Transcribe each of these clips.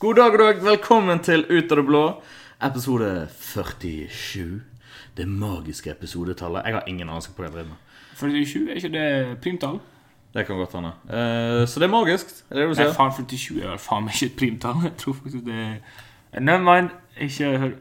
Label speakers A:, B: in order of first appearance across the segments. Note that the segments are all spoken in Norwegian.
A: God dag og dag, velkommen til Ut av det blå, episode 47. Det magiske episodetallet. Jeg har ingen anelse på hva jeg driver med.
B: 47, er ikke det primtall?
A: Det kan godt hende. Eh, så det er magisk. Er det det du
B: Nei,
A: sier?
B: faen, 47 er vel faen meg ikke et primtall. Jeg tror faktisk det er Never mind. Ikke hør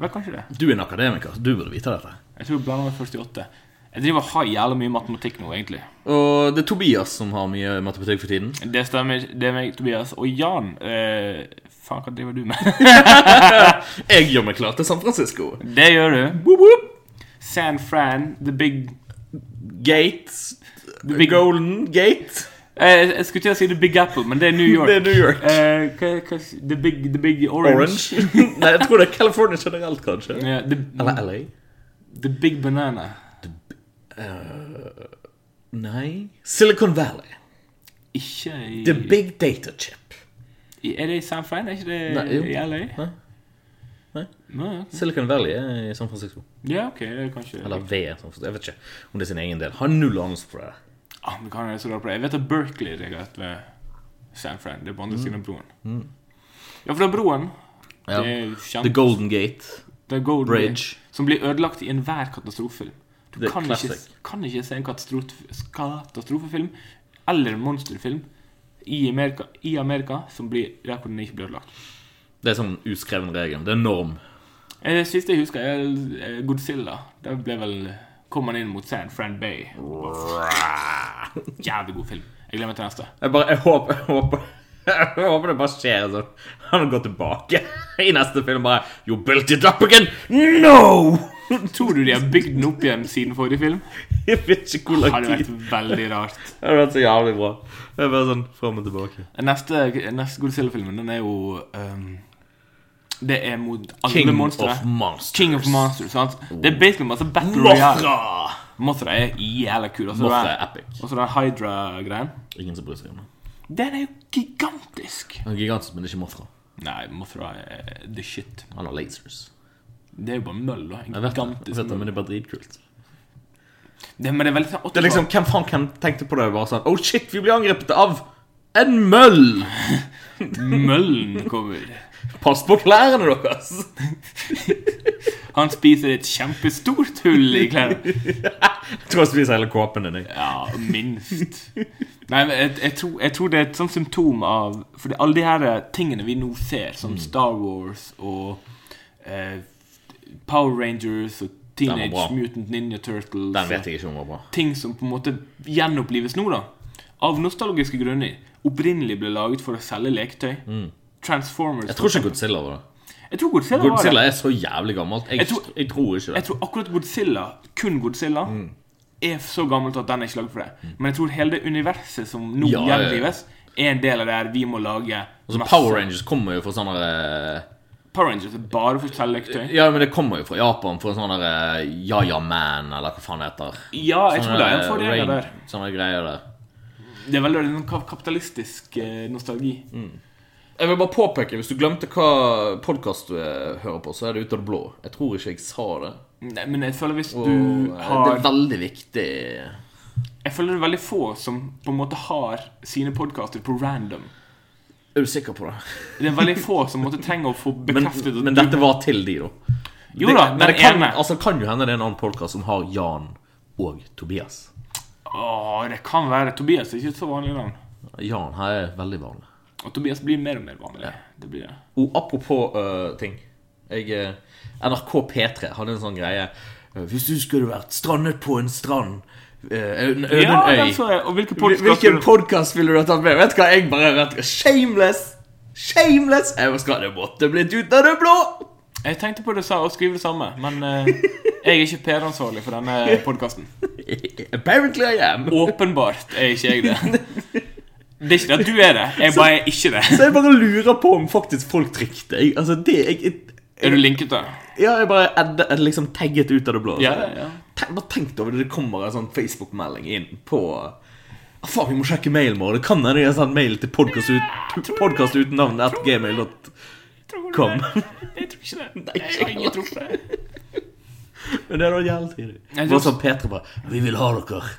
B: Vel, kanskje det.
A: Du er en akademiker, så du burde vite dette.
B: Jeg tror jeg blander med 48. Jeg driver og har jævla mye matematikk nå, egentlig.
A: Og det er Tobias som har mye matematikk for tiden.
B: Det stemmer. Det er meg, Tobias. Og Jan eh, Faen, hva driver du med?
A: Jeg gjør meg klar til San Francisco.
B: Det gjør du.
A: Woop, woop.
B: San Fran, the big
A: Gates.
B: The big-
A: Golden Gate.
B: eh, Jeg skulle til å si The Big Apple, men det er New York.
A: Det er New York.
B: Eh, hva, hva, the, big, the Big Orange.
A: Orange. Nei, jeg tror det er California generelt, kanskje.
B: Ja, the,
A: Eller LA.
B: the Big Banana.
A: Nei. Silicon Valley.
B: Ikke i
A: The Big Data Chip.
B: I- Er det i San Fran? Er ikke det
A: Nei, jo.
B: i LA?
A: Nei. Nei.
B: Nei, ok.
A: Silicon Valley er i San Francisco.
B: Ja, ok, det er kanskje
A: Eller V. San Francisco. Jeg vet ikke om det er sin egen del. Har null anelse på det.
B: Amerikanerne Ah, er så rare på det. Jeg vet at Berkeley ligger rett ved San Fran. Det er på andre siden av broen. Ja, for det er broen.
A: Mm. Ja.
B: Det er kjent.
A: The Golden Gate.
B: det er Golden
A: Bridge.
B: Gate, Som blir ødelagt i enhver katastrofefilm. Du
A: Det er
B: kan ikke,
A: classic.
B: kan ikke se en katastrof- katastrofefilm eller en monsterfilm i Amerika, i Amerika som blir, der hvor den ikke blir ødelagt.
A: Det er sånn uskreven regel. Det er norm.
B: Eh, Det siste jeg husker, er eh, Godzilla. Der ble vel Kom han inn mot San Fran Bay. Jævlig god film. Jeg glemmer til neste.
A: Jeg bare, jeg håper, jeg håper jeg håper det bare skjer sånn. Han går tilbake i neste film bare You built it up again! No!
B: Tror du de har bygd den opp igjen siden forrige film?
A: Jeg vet ikke hvor
B: Det
A: lang
B: hadde
A: tid.
B: vært veldig rart.
A: Det hadde vært så jævlig bra. Det er bare sånn fram og tilbake.
B: Neste, neste Godzilla-filmen, den er jo ehm, Det er mot alle
A: King
B: monstre.
A: of Monsters.
B: King of Monsters. sant? Det er basically masse Battle Royale.
A: Mothra!
B: Mothra er jævla kul. Og så
A: Mothra
B: den-
A: er epic.
B: og så den Hydra-greien.
A: Ingen som bryr seg om det.
B: Den er jo gigantisk.
A: Han er gigantisk, men ikke Mothra.
B: Nei, Mothra er the shit.
A: Han har lasers.
B: Det er jo bare møll, da. En
A: Jeg vet, det, Liksom- jeg vet
B: gigantisk
A: det,
B: møll.
A: men det er bare dritkult.
B: Det, men det er veldig sånn
A: Det er liksom, Hvem faen hvem tenkte på det? Bare sånn Oh shit, vi blir angrepet av en møll! liksom-
B: Møllen kommer.
A: Pass på klærne deres!
B: Han spiser et kjempestort hull i klærne.
A: Jeg tror jeg spiser hele kåpen din. jeg.
B: Ja, minst. Nei, men jeg, jeg, tror, jeg tror det er et sånt symptom av For det, alle de her eh, tingene vi nå ser,
A: Mm.
B: som Star Wars og eh, Power Rangers og
A: Den
B: Teenage
A: var bra.
B: Mutant Ninja Turtles
A: Den vet jeg ikke om var bra.
B: ting som på en måte gjenopplives nå, da. Av nostalgiske grunner. Opprinnelig ble laget for å selge leketøy. Transformers
A: Mm. Jeg tror ikke Godzilla var det.
B: Jeg tror Godzilla,
A: Godzilla
B: var det.
A: er så jævlig gammelt. Jeg,
B: Jeg
A: jeg,
B: tror-
A: tror, ikke
B: Jeg
A: det.
B: tror akkurat Godzilla, kun Godzilla,
A: Mm.
B: er så gammelt at den er ikke laget for det. Men jeg tror hele det universet som nå
A: Ja, ja, ja.
B: gjenlives, er en del av det her vi må lage
A: Altså,
B: masse-
A: Power Rangers kommer jo fra sånne eh,
B: Power Rangers er bare for å selge leketøy.
A: Ja, men det kommer jo fra Japan, fra sånne eh, Ja-Ja Man, eller hva faen det heter.
B: Ja, jeg tror det er en
A: Sånne,
B: fordel
A: eh,
B: der.
A: Sånne greier der.
B: Det er veldig en kap- kapitalistisk eh, nostalgi.
A: Mm. Jeg vil bare påpeke, hvis du glemte hva podkast du eh, hører på, så er det Ut av det blå. Jeg tror ikke jeg sa det.
B: Nei, men jeg føler hvis
A: Og,
B: du
A: eh, Det
B: har
A: er veldig viktig.
B: Jeg føler det er veldig få som på en måte har sine podkaster på random.
A: Jeg er usikker på det.
B: Det er veldig få som måtte trenge å få
A: Men,
B: bekreftet at
A: men
B: du-
A: dette var til de, da.
B: Jo da,
A: det, men
B: den
A: det kan,
B: ene.
A: altså, kan jo hende det er en annen podkast som har Jan og Tobias. altså-
B: Åh, det kan være. Tobias er ikke et så vanlig navn.
A: Jan her er veldig vanlig.
B: Og Tobias blir mer og mer vanlig. Det blir det.
A: Og apropos øh, ting jeg, øh, NRK P3 hadde en sånn greie øh, Hvis du skulle vært strandet på en strand øh, En øde
B: Ja,
A: øy
B: den så jeg. Og hvilke
A: hvil-
B: podkast
A: Hvilken podcast ville du ha tatt med? Vet du hva, jeg bare vet du hva, Shameless! Shameless! Jeg bare skal, det måtte blitt ut av det blå!
B: Jeg tenkte på det sa, å skrive det samme, men eh, jeg er ikke PR-ansvarlig for denne podkasten.
A: Apparently I am
B: Åpenbart er ikke jeg det. Det er ikke det at du er det. Jeg bare er ikke det.
A: Så jeg bare lurer på om faktisk folk trykte jeg, Altså det, jeg, jeg,
B: Er du linket, da?
A: ja, jeg bare edde, edde, liksom tagget ut av det blå
B: Ja,
A: Så-
B: ja.
A: Tenk, bare tenk deg over det, det kommer en sånn Facebook-melding inn på ah, Faen, vi må sjekke mailen vår. Det kan hende de har sendt mail til podcast, ut, podcast uten navn at gmail.com.
B: Tror du Jeg tror ikke det.
A: Nei,
B: Jeg har ingen tro på det.
A: Men det er da jævlig tidlig.
B: Jeg
A: Bare
B: tror-
A: sånn Petra bare Vi vil ha dere.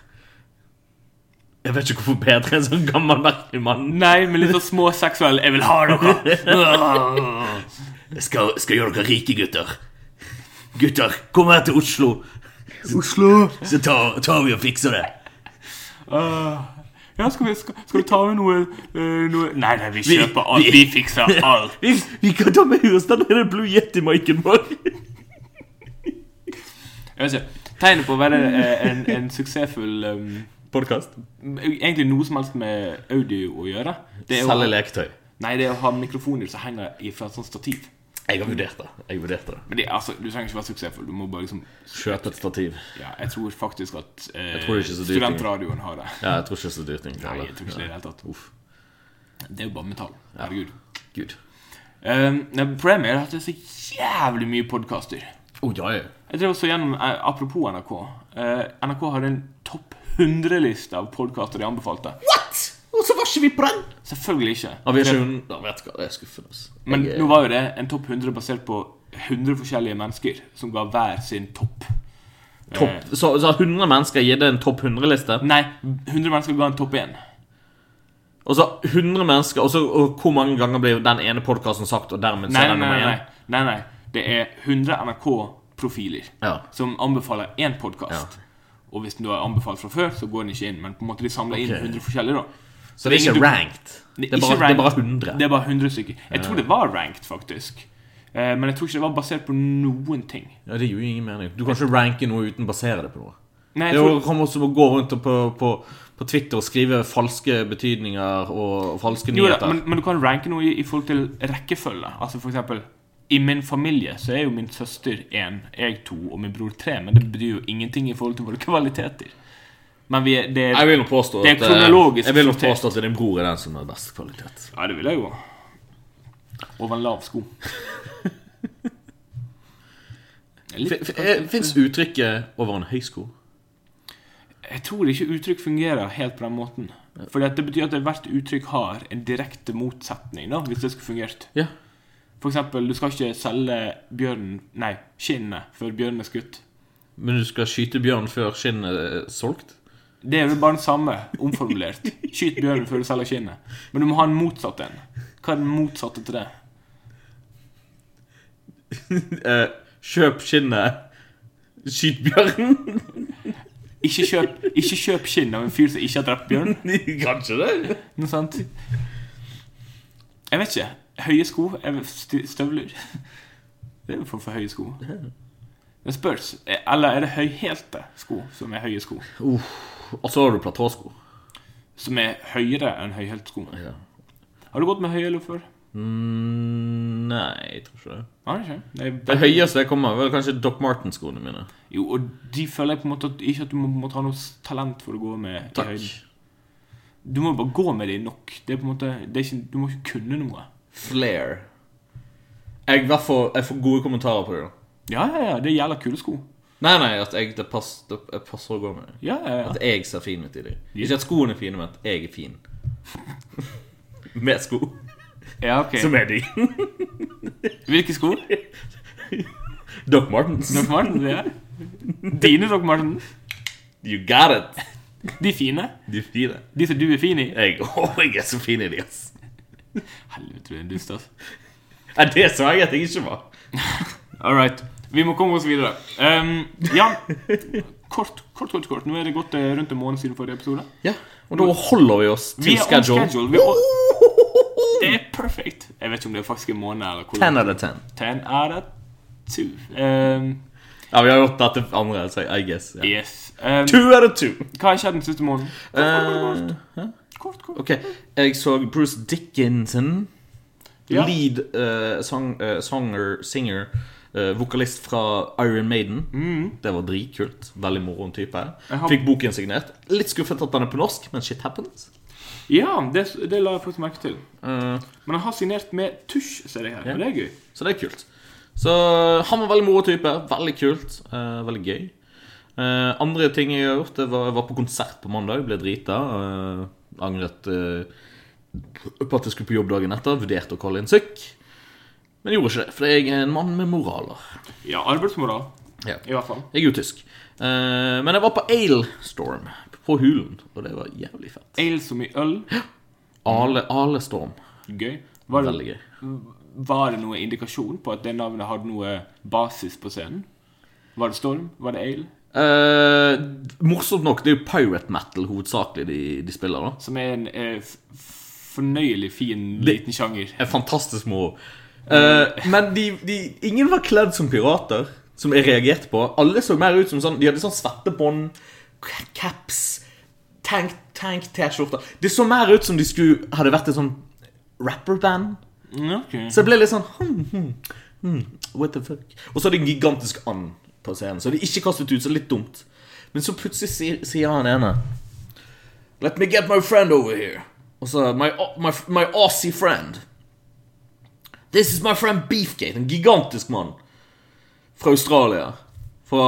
A: Jeg vet ikke hvorfor bedre en sånn gammel, merkelig mann.
B: Nei, men litt sånn småseksuell. Jeg vil ha dere!
A: Jeg skal, skal gjøre dere rike, gutter. Gutter, kom her til Oslo,
B: Oslo!
A: så tar, tar vi og fikser det.
B: Ah. ja, skal, vi, skal, skal du ta med noe, eh, noe Nei, nei, vi
A: Vi-
B: kjøper alt.
A: vi-
B: Vi fikser alt.
A: Vi, vi kan ta med oss den der Blue Yeti-miken vår.
B: Jeg vet ikke. Tegnet på å være eh, en, en suksessfull eh,
A: Podkast.
B: Egentlig noe som helst med audio å gjøre. Det er
A: Selge
B: å,
A: leketøy.
B: nei, det er å ha mikrofoner som henger fra et sånt stativ.
A: Jeg har vurdert det. Jeg vurderte det.
B: Men det, altså, Du trenger ikke være suksessfull. Du må bare liksom
A: Kjøp et stativ.
B: Ja, jeg tror faktisk at eh,
A: Jeg tror det er ikke så dyrt,
B: studentradioen har det.
A: Ja, jeg tror ikke det er så dyrt. egentlig,
B: Nei,
A: eller?
B: jeg tror ikke det i det hele tatt.
A: Uff.
B: Det er jo bare metall. Herregud.
A: Gud.
B: Um, nei, problemet er at det er så jævlig mye podkaster.
A: Oh, ja, ja.
B: Jeg drev også gjennom, eh, Apropos NRK. Eh, NRK hadde en topp 100-liste av podkaster de anbefalte.
A: What?! Og så var ikke vi på den!
B: Selvfølgelig ikke.
A: Ja, vi er ikke ja, vet du hva, det er skuffende. ass.
B: Men
A: Jeg-
B: nå var jo det en topp 100 basert på 100 forskjellige mennesker som ga hver sin topp. Eh,
A: topp, så, så har 100 mennesker gitt en topp 100-liste?
B: Nei, 100 mennesker ga en topp 1.
A: Og så 100 mennesker, og, så, og hvor mange ganger blir den ene podkasten sagt, og dermed så
B: Nei,
A: er
B: nei,
A: den
B: nei.
A: nummer
B: nei,
A: én?
B: nei, nei. Det er 100 NRK-profiler.
A: Ja.
B: som anbefaler én podkast. Og hvis den da er anbefalt fra før, så går den ikke inn. Men på en måte de samler inn
A: Ok.
B: 100 forskjellige, da.
A: Så det er
B: ingen
A: ikke
B: du-
A: ranked? Det er,
B: ikke
A: bare, det er bare
B: ranked.
A: 100?
B: Det er bare 100 stykker. Jeg tror det var ranked, faktisk. Eh, Men jeg tror ikke det var basert på noen ting.
A: Ja, det gir jo ingen mening. Du kan ikke ranke noe uten å basere det på noe.
B: Nei,
A: Det er
B: jeg
A: jo
B: tror,
A: kommer også å gå rundt og på, på, på Twitter og skrive falske betydninger og falske
B: jo, da,
A: nyheter.
B: men, men du kan ranke noe i, i forhold til rekkefølge. Altså for eksempel I min familie så er jo min søster én, jeg to og min bror tre. Men det betyr jo ingenting i forhold til våre kvaliteter. Men vi er, det er
A: jeg vil nok påstå
B: Det er
A: at, eh,
B: kronologisk
A: jeg vil nok
B: sortert.
A: påstå at din bror er den som har best kvalitet.
B: Ja, det vil jeg jo. Over en lav sko. Litt,
A: Fins eh, uttrykket 'over en høy sko'?
B: jeg tror ikke uttrykk fungerer helt på den måten. For det betyr at hvert uttrykk har en direkte motsetning, da, hvis det skulle fungert.
A: Ja.
B: For eksempel, du skal ikke selge bjørnen Nei, skinnet før bjørnen er skutt.
A: Men du skal skyte bjørn før skinnet er solgt?
B: Det er jo bare den samme, omformulert. Skyt bjørnen før du selger skinnet. Men du må ha en motsatt en. Hva er den motsatte til det?
A: Eh, kjøp skinnet, skyt bjørnen.
B: Ikke kjøp, ikke kjøp skinn av en fyr som ikke har drept bjørn.
A: Kanskje det?
B: Noe sant? Jeg vet ikke. Høye sko? Jeg vet- st- Støvler? Det er jo for, for høye sko. Det spørs. Eller er det høyhælte sko som er høye sko?
A: Og så har du platåsko.
B: Som er høyere enn høyhælte sko?
A: Ja.
B: Har du gått med høyhæler før?
A: Mm, nei, jeg tror ikke det.
B: Har du ikke? Det er
A: Det høyeste jeg kommer, er vel kanskje Doc Marten-skoene mine.
B: Jo, og de føler jeg på en måte at, ikke at du må, måtte ha noe s- talent for å gå med i
A: Takk.
B: høyden. Du må bare gå med de nok. Det er på en måte, det er ikke, du må ikke kunne noe.
A: Flair. Jeg, hvert fall- jeg får gode kommentarer på det. da
B: Ja, ja, ja. Det gjelder kule sko.
A: Nei, nei, at jeg, det, pass, det jeg passer å gå med det.
B: Ja, ja, ja.
A: At jeg ser fin ut i det. Ikke at skoene er fine, men at jeg er fin. Med sko.
B: ja ok.
A: Som er de.
B: Hvilke sko?
A: Doc Martens.
B: Doc Martens, ja. Dine Doc Martens.
A: You got it.
B: De fine.
A: De er fine.
B: De som du er fin i.
A: Jeg, åh, jeg er så fin i de, ass.
B: Helvete, du er en dust, ass.
A: Nei, det sa jeg at jeg ikke var.
B: All right. Vi må komme oss videre. Um, ja, kort, kort, kort, kort. Nå er det gått eh, rundt en måned siden forrige episode.
A: Ja, Og da holder vi oss til
B: Vi er on
A: schedule.
B: schedule. Vi er on, det er perfekt. Jeg vet ikke om det er faktisk en måned eller hvor.
A: Ten out of ten.
B: Ten out of two. Um,
A: Ja, vi har gjort dette for andre, så I guess. Ja.
B: yes. Um,
A: Two out of two.
B: hva har skjedd den siste måneden?
A: Eh,
B: Kort, kort.
A: ok, jeg så Bruce Dickinson.
B: Ja.
A: Lead eh, song, eh, songer, singer, eh, vokalist fra Iron Maiden. Det var dritkult. Veldig moroen type.
B: Mm. Jeg har-
A: Fikk boken signert. Litt skuffet at den er på norsk, men shit happens.
B: Ja, det, det la jeg faktisk merke til.
A: Eh,
B: Men han har signert med tusj, ser jeg her. Og det er gøy.
A: Så det er kult. Så han var veldig moro type. Veldig kult. eh, veldig gøy. Eh, andre ting jeg har gjort, det var jeg var på konsert på mandag. Ble drita. eh, angret eh, på at jeg skulle på jobb dagen etter. Vurderte å kalle inn syk. Men gjorde ikke det, for jeg er en mann med moraler.
B: Ja, arbeidsmoral.
A: Ja.
B: I hvert fall.
A: Jeg er jo tysk. Eh, men jeg var på Ale Storm på Hulen. Og det var jævlig fett.
B: Ale som i øl.
A: Ale, Ale Storm.
B: Gøy. Var det,
A: Veldig gøy.
B: var det noe indikasjon på at det navnet hadde noe basis på scenen? Var det Storm? Var det Ale?
A: Eh, morsomt nok, det er jo pirate metal hovedsakelig de, de spiller. da
B: Som er en eh, f- fornøyelig fin liten sjanger.
A: En fantastisk moro. Eh, men de, de, ingen var kledd som pirater, som jeg reagerte på. Alle så mer ut som sånn De hadde sånn svettebånd, k- caps, tank, tank T-skjorter. Det så mer ut som de skulle hadde vært et sånn rapperband.
B: Mm, ok.
A: Så jeg ble litt sånn hmm, hmm, hmm, What the fuck? Og så hadde de en gigantisk and på scenen, så de ikke kastet ut, så litt dumt. Men så plutselig sier, sier han ene Let me get my friend over here. Og så my, my, my Aussie friend. This is my friend Beefgate, en gigantisk mann fra Australia. Fra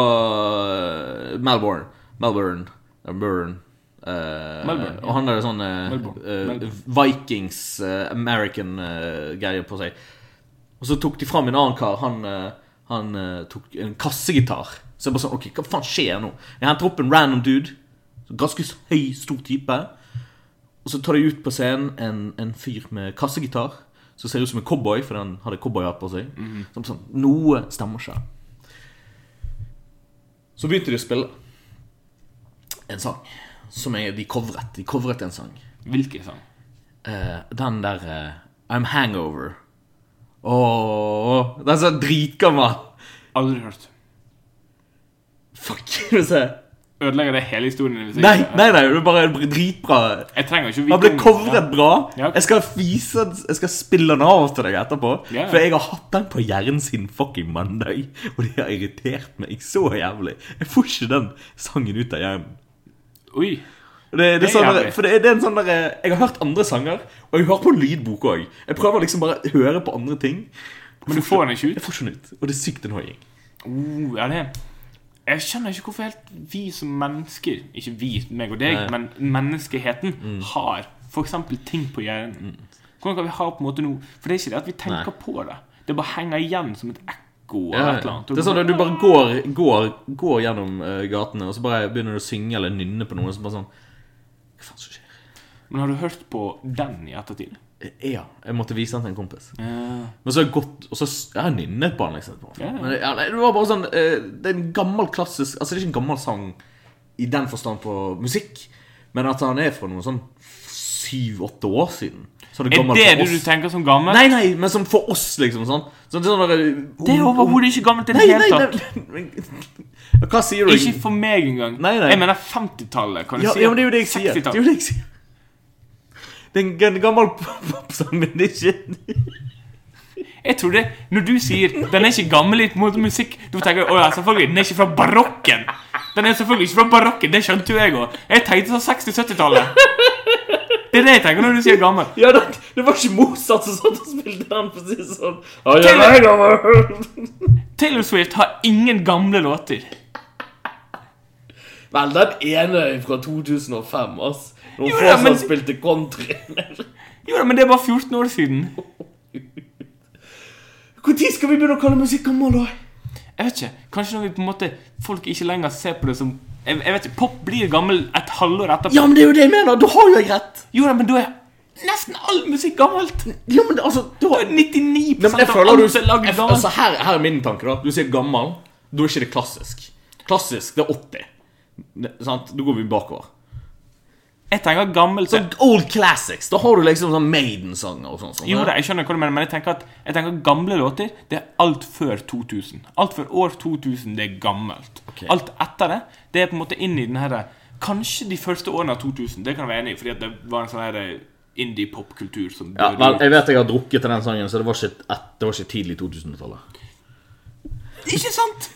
A: eh, Melbourne. Melbourne. Eh, Burn. Eh,
B: Melbourne, ja.
A: Og han hadde sånn eh,
B: Melbourne,
A: eh,
B: Melbourne.
A: Vikings, eh, American eh, greie på seg. Og så tok de fram en annen kar. Han, eh, han eh, tok en kassegitar. Så jeg bare sånn, ok, hva faen skjer nå? Jeg henter opp en random dude. Ganske høy, stor type. Og så tar de ut på scenen en, en fyr med kassegitar. Som ser ut som en cowboy, for han hadde cowboyhatt på seg.
B: Mhm.
A: Som sånn, Noe stemmer ikke. Så begynte de å spille en sang som jeg, de covret. De covret en sang.
B: Hvilken sang?
A: Eh, den der eh, I'm Hangover. Ååå. Den er så dritgammel.
B: Aldri hørt.
A: Fuck, vil du se.
B: Ødelegger det hele historien? Hvis jeg
A: Nei,
B: ikke-
A: nei, nei, det er bare dritbra.
B: Jeg trenger ikke
A: Han ble
B: om-
A: covret bra.
B: Ja.
A: Jeg skal vise Jeg skal spille den av til deg etterpå.
B: Ja, ja.
A: For jeg har hatt den på hjernen siden fucking mandag, og det har irritert meg så jævlig. Jeg får ikke den sangen ut av hjernen.
B: Ja. Oi.
A: Det, det, er
B: Det er
A: sånn
B: jævlig.
A: der, for det, er- det er en sånn der, Jeg har hørt andre sanger, og jeg hører på lydbok òg. Jeg prøver liksom bare å høre på andre ting.
B: Men du får den ikke ut?
A: Jeg får ikke den ut, og det er sykt annoying.
B: Oh, er det Jeg skjønner ikke hvorfor helt vi som mennesker Ikke vi, meg og deg,
A: Nei. Mm.
B: men menneskeheten har f.eks. ting på hjernen. Hvordan kan vi ha på en måte noe For det er ikke det at vi tenker
A: Nei.
B: på det. Det bare henger igjen som et ekko.
A: Ja,
B: eller et
A: ja.
B: eller annet.
A: Det er sånn at du bare går, går, går gjennom eh, gatene, og så bare begynner du å synge eller nynne på noe, og så bare sånn Hva faen som skjer?
B: Men har du hørt på den i ettertid?
A: Eh, Ja. Jeg måtte vise den til en kompis. Men så har jeg gått Og så s- jeg har nynnet på den, liksom. etterpå.
B: Ja, ja.
A: Men det, ja, nei, det var bare sånn eh, Det er en gammel klassisk Altså, det er ikke en gammel sang i den forstand på musikk, men at han er fra noen sånn syv-åtte år siden. Så
B: Er
A: gammel
B: det
A: for
B: det
A: oss.
B: du tenker som gammel?
A: Nei, nei, men som for oss, liksom. sånn Sånn, sånn der-
B: Det er overhodet ikke gammelt i det
A: Nei,
B: hele
A: nei,
B: tatt.
A: nei, nei. Hva sier du?
B: Ikke for meg engang.
A: Nei, nei.
B: Jeg mener 50-tallet. kan du
A: ja,
B: si?
A: ja, men det er jo det jeg sier. Det er jo
B: 60-tallet.
A: det jeg sier. Det er en g- en gammel pop- popsang, men det er ikke
B: Jeg tror det, Når du sier den er ikke gammel i mot musikk, da tenker jeg å ja, selvfølgelig, den er ikke fra barokken. Den er selvfølgelig ikke fra barokken, Det skjønte jo jeg òg. Jeg tenkte sånn 60-70-tallet. Det er det jeg tenker når du sier gammel.
A: Ja, det, det var ikke Mozart som satt og spilte den, for å si det sånn. Ja, ja,
B: Taylor-
A: nei, gammel.
B: Taylor Swift har ingen gamle låter.
A: Vel, den ene er fra 2005, ass. Når
B: Jo,
A: hun
B: ja, men-
A: fortsatt spilte country.
B: Jo da, men det er bare 14 år siden.
A: Når skal vi begynne å kalle musikk gammel, da?
B: Jeg vet ikke, Kanskje når vi på en måte folk ikke lenger ser på det som Jeg, jeg vet ikke, Pop blir gammel et halvår etterpå.
A: Ja, men det er jo det jeg mener. Da har jo jeg rett.
B: Jo da, men da er nesten all musikk gammelt.
A: Ja, men altså da...
B: Da er 99
A: Nei, men jeg
B: av
A: føler du
B: alt er lagd
A: jeg,
B: gammelt.
A: altså, her, her er min tanke, da. Du sier gammel. Da er ikke det klassisk. Klassisk, det er 80. Ne, sant? Da går vi bakover.
B: Jeg tenker gammelt
A: Så old classics. Da har du liksom sånn Maiden-sanger og sånn. sånn
B: Jo
A: ja.
B: da, jeg skjønner hva du mener, men jeg tenker at jeg tenker at gamle låter det er alt før 2000. Alt før år 2000 det er gammelt.
A: Ok.
B: Alt etter det det er på en måte inn i den her Kanskje de første årene av 2000. Det kan jeg være enig i, fordi at det var en sånn her indie-pop-kultur som
A: Ja,
B: døde
A: vel,
B: ut.
A: jeg vet jeg har drukket til den sangen, så det var ikke, et- det var ikke tidlig 2000-tallet.
B: Ikke sant?!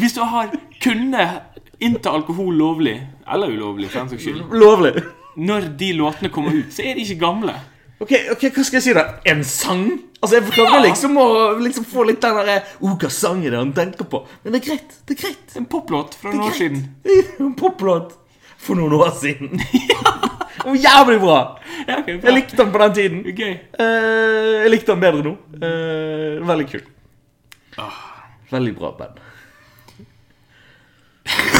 B: Hvis du har kunnet innta alkohol lovlig, eller ulovlig, for den saks
A: Mm.
B: skyld,
A: Lovlig.
B: når de låtene kommer ut, så er de ikke gamle.
A: Ok, ok, Hva skal jeg si, da? En sang? Altså, Jeg prøver
B: Ja.
A: liksom å liksom få litt den derre oh, hva sang er det han tenker på? Men det er greit. Det er greit.
B: Det er en poplåt fra
A: Det
B: noen
A: er
B: år
A: greit.
B: siden.
A: En poplåt for noen år siden. Og Jævlig bra!
B: Ja, ok, bra.
A: Jeg likte den på den tiden.
B: Gøy.
A: Eh, jeg likte den bedre nå. Eh, Ah. veldig kul. Veldig bra band.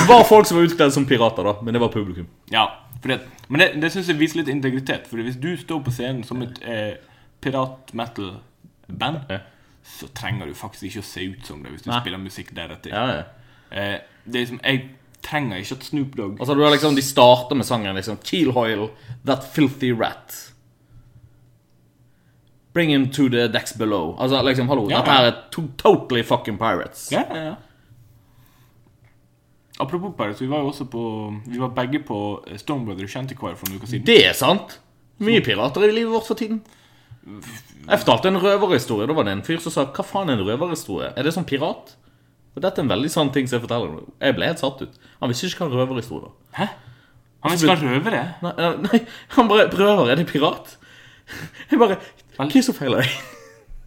A: var folk som var utkledd som pirater, da. Men det var publikum.
B: Ja, for det, men det, det syns jeg viser litt integritet. For hvis du står på scenen som et eh, pirat-metal-band,
A: Ja.
B: så trenger du faktisk ikke å se ut som det hvis du
A: Nei.
B: spiller musikk deretter.
A: Ja, ja.
B: Eh, det er liksom, jeg trenger ikke at Snoop Dogg
A: Altså, du har liksom, De starter med sangen liksom Keel Hoyle, That Filthy Rat. Bring him to the decks below. Altså, liksom, hallo,
B: Ja,
A: Dette
B: ja.
A: her er to totally fucking pirates.
B: Ja, ja, ja. Apropos Paris, vi var jo også på Vi var begge på eh, Stone Brother Shanty Choir for noen uker siden.
A: Det er sant. Mye pirater i livet vårt for tiden. Jeg fortalte en røverhistorie. Da var det en fyr som sa 'Hva faen er en røverhistorie?' Er det som pirat? Og Dette er en veldig sann ting som jeg forteller. nå. Jeg ble helt satt ut. Han visste ikke hva en røverhistorie var.
B: Hæ? Han skal røve det?
A: Nei, eh, nei, han bare 'Røver, er det pirat?' Jeg bare Hva er det som feiler deg?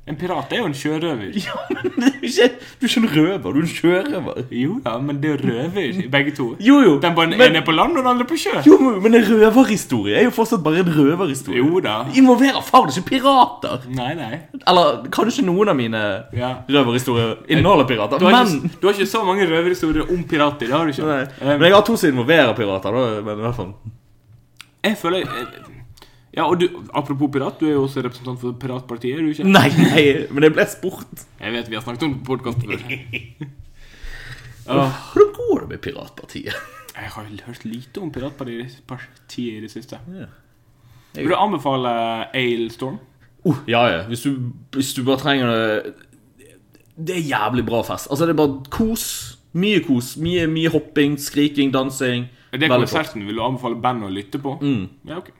B: En pirat er jo en sjørøver.
A: Ja, men det er jo ikke Du er ikke en røver, du er en sjørøver.
B: Jo da, men det er røver, begge to.
A: Jo, jo.
B: Den bare,
A: men,
B: ene er på land, og den andre på sjø.
A: jo, men- men en røverhistorie er jo fortsatt bare en røverhistorie.
B: Jo da.
A: Involverer faen ikke pirater!
B: Nei, nei.
A: Eller kanskje noen av mine
B: Ja.
A: røverhistorier inneholder pirater.
B: Du har,
A: Men,
B: ikke, du har ikke så mange røverhistorier om pirater. Det har du ikke.
A: nei,
B: Eh,
A: men jeg har to som involverer pirater. Da, men i hvert fall
B: jeg føler eh, Ja, og du, Apropos pirat, du er jo også representant for piratpartiet. er du ikke?
A: Nei, nei, men det ble sport.
B: Jeg vet vi har snakket om det på podkast før.
A: Hvordan går det med piratpartiet?
B: Jeg har hørt lite om piratpartiet i det siste.
A: Ja.
B: Vil du anbefale Ale Storm? Oh.
A: Uh, ja, ja. Hvis du, hvis du bare trenger det Det er jævlig bra fest. Altså, det er bare kos. Mye kos. Mye, mye hopping, skriking, dansing.
B: Er det
A: Veldig Mm. flott.
B: konserten vil du anbefale bandet å lytte på? Ja, ok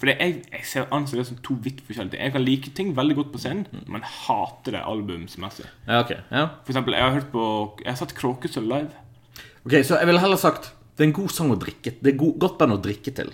B: Fordi jeg, jeg ser anser det som to vidt forskjellige ting. Jeg kan like ting veldig godt på
A: Mm.
B: scenen, men hater det albumsmessig.
A: Ja, ok. Ja.
B: For eksempel, jeg har hørt på Jeg har sett Kråkesølv live.
A: Ok, så jeg ville heller sagt Det er en god sang å drikke Det er go godt band å drikke til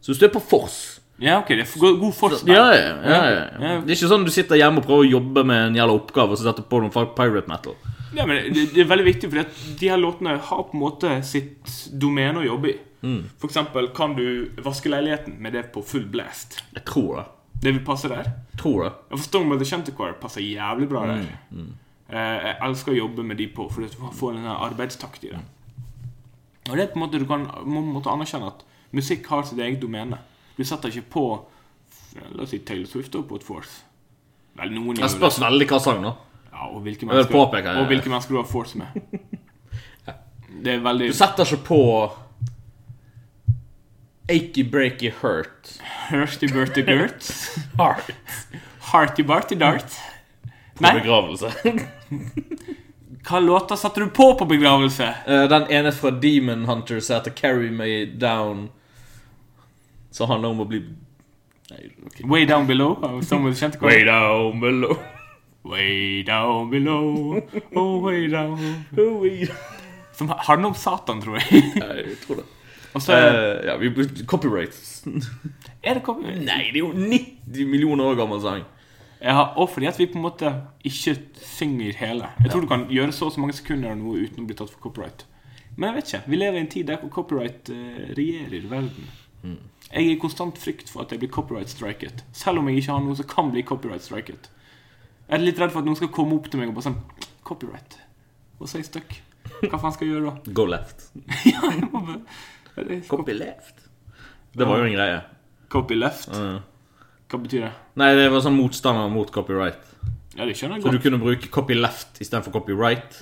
A: Så hvis du er på fors
B: Ja, ok, det er god, god forskning.
A: ja, ja, ja, ja.
B: Ja.
A: Det er ikke sånn du sitter hjemme og prøver å jobbe med en jævla oppgave Og så setter på noen fuck pirate metal
B: Ja, men det, det er veldig viktig, for de her låtene har på en måte sitt domene å jobbe i.
A: Mm.
B: For eksempel kan du vaske leiligheten med det på full blast.
A: Jeg tror det
B: Det vil passe der.
A: Jeg Tror det
B: Og for Storm of the Shanty Choir passer jævlig bra der.
A: Mm,
B: Eh, jeg elsker å jobbe med de på, for du får en arbeidstakt i det.
A: Mm.
B: Og det er på en måte Du kan må på en måte anerkjenne at musikk har sitt eget domene. Du setter ikke på eh, La oss si Taylor Swift og på et force. Vel, noen
A: Jeg
B: gjør det.
A: spørs veldig hva sang nå
B: Ja, og hvilke
A: vil
B: mennesker,
A: påpeke, ja, ja.
B: og hvilke mennesker du har force med. Det er veldig
A: Du setter ikke på Achy breaky hurt
B: Hersty Berty Gert.
A: Heart
B: Hearty Barty Dart.
A: På
B: Nei,
A: begravelse
B: hva låter satte du på på begravelse?
A: Eh, Den ene fra Demon Hunter som heter Carry me down Som handler om å bli Nei, ok
B: Way Down Below av Storm of the Shanty Choir.
A: Way down below
B: Way down below, oh way down
A: Way down
B: Som handler om Satan, tror jeg.
A: Nei, jeg tror det.
B: Og så er
A: Eh, ja, vi, copyright.
B: det kom-
A: Nei, det er jo 90 millioner år gammel sang.
B: Jeg har, Og fordi at vi på en måte ikke synger hele. Jeg tror du kan gjøre så og så mange sekunder av noe uten å bli tatt for copyright. Men jeg vet ikke. Vi lever i en tid der hvor copyright eh, regjerer verden.
A: Mm.
B: Jeg er i konstant frykt for at jeg blir copyright striket. Selv om jeg ikke har noe som kan bli copyright striket. Jeg er litt redd for at noen skal komme opp til meg og bare sånn Copyright. Og så er jeg stuck. Hva faen skal jeg gjøre da?
A: Go left.
B: ja, jeg må bare... Det er-
A: Copy left. Det var jo en greie.
B: Copy left?
A: Mm.
B: Hva betyr det?
A: Nei, det var sånn motstander mot copyright.
B: Ja, det skjønner jeg
A: Så du
B: godt.
A: kunne bruke copy left istedenfor copyright.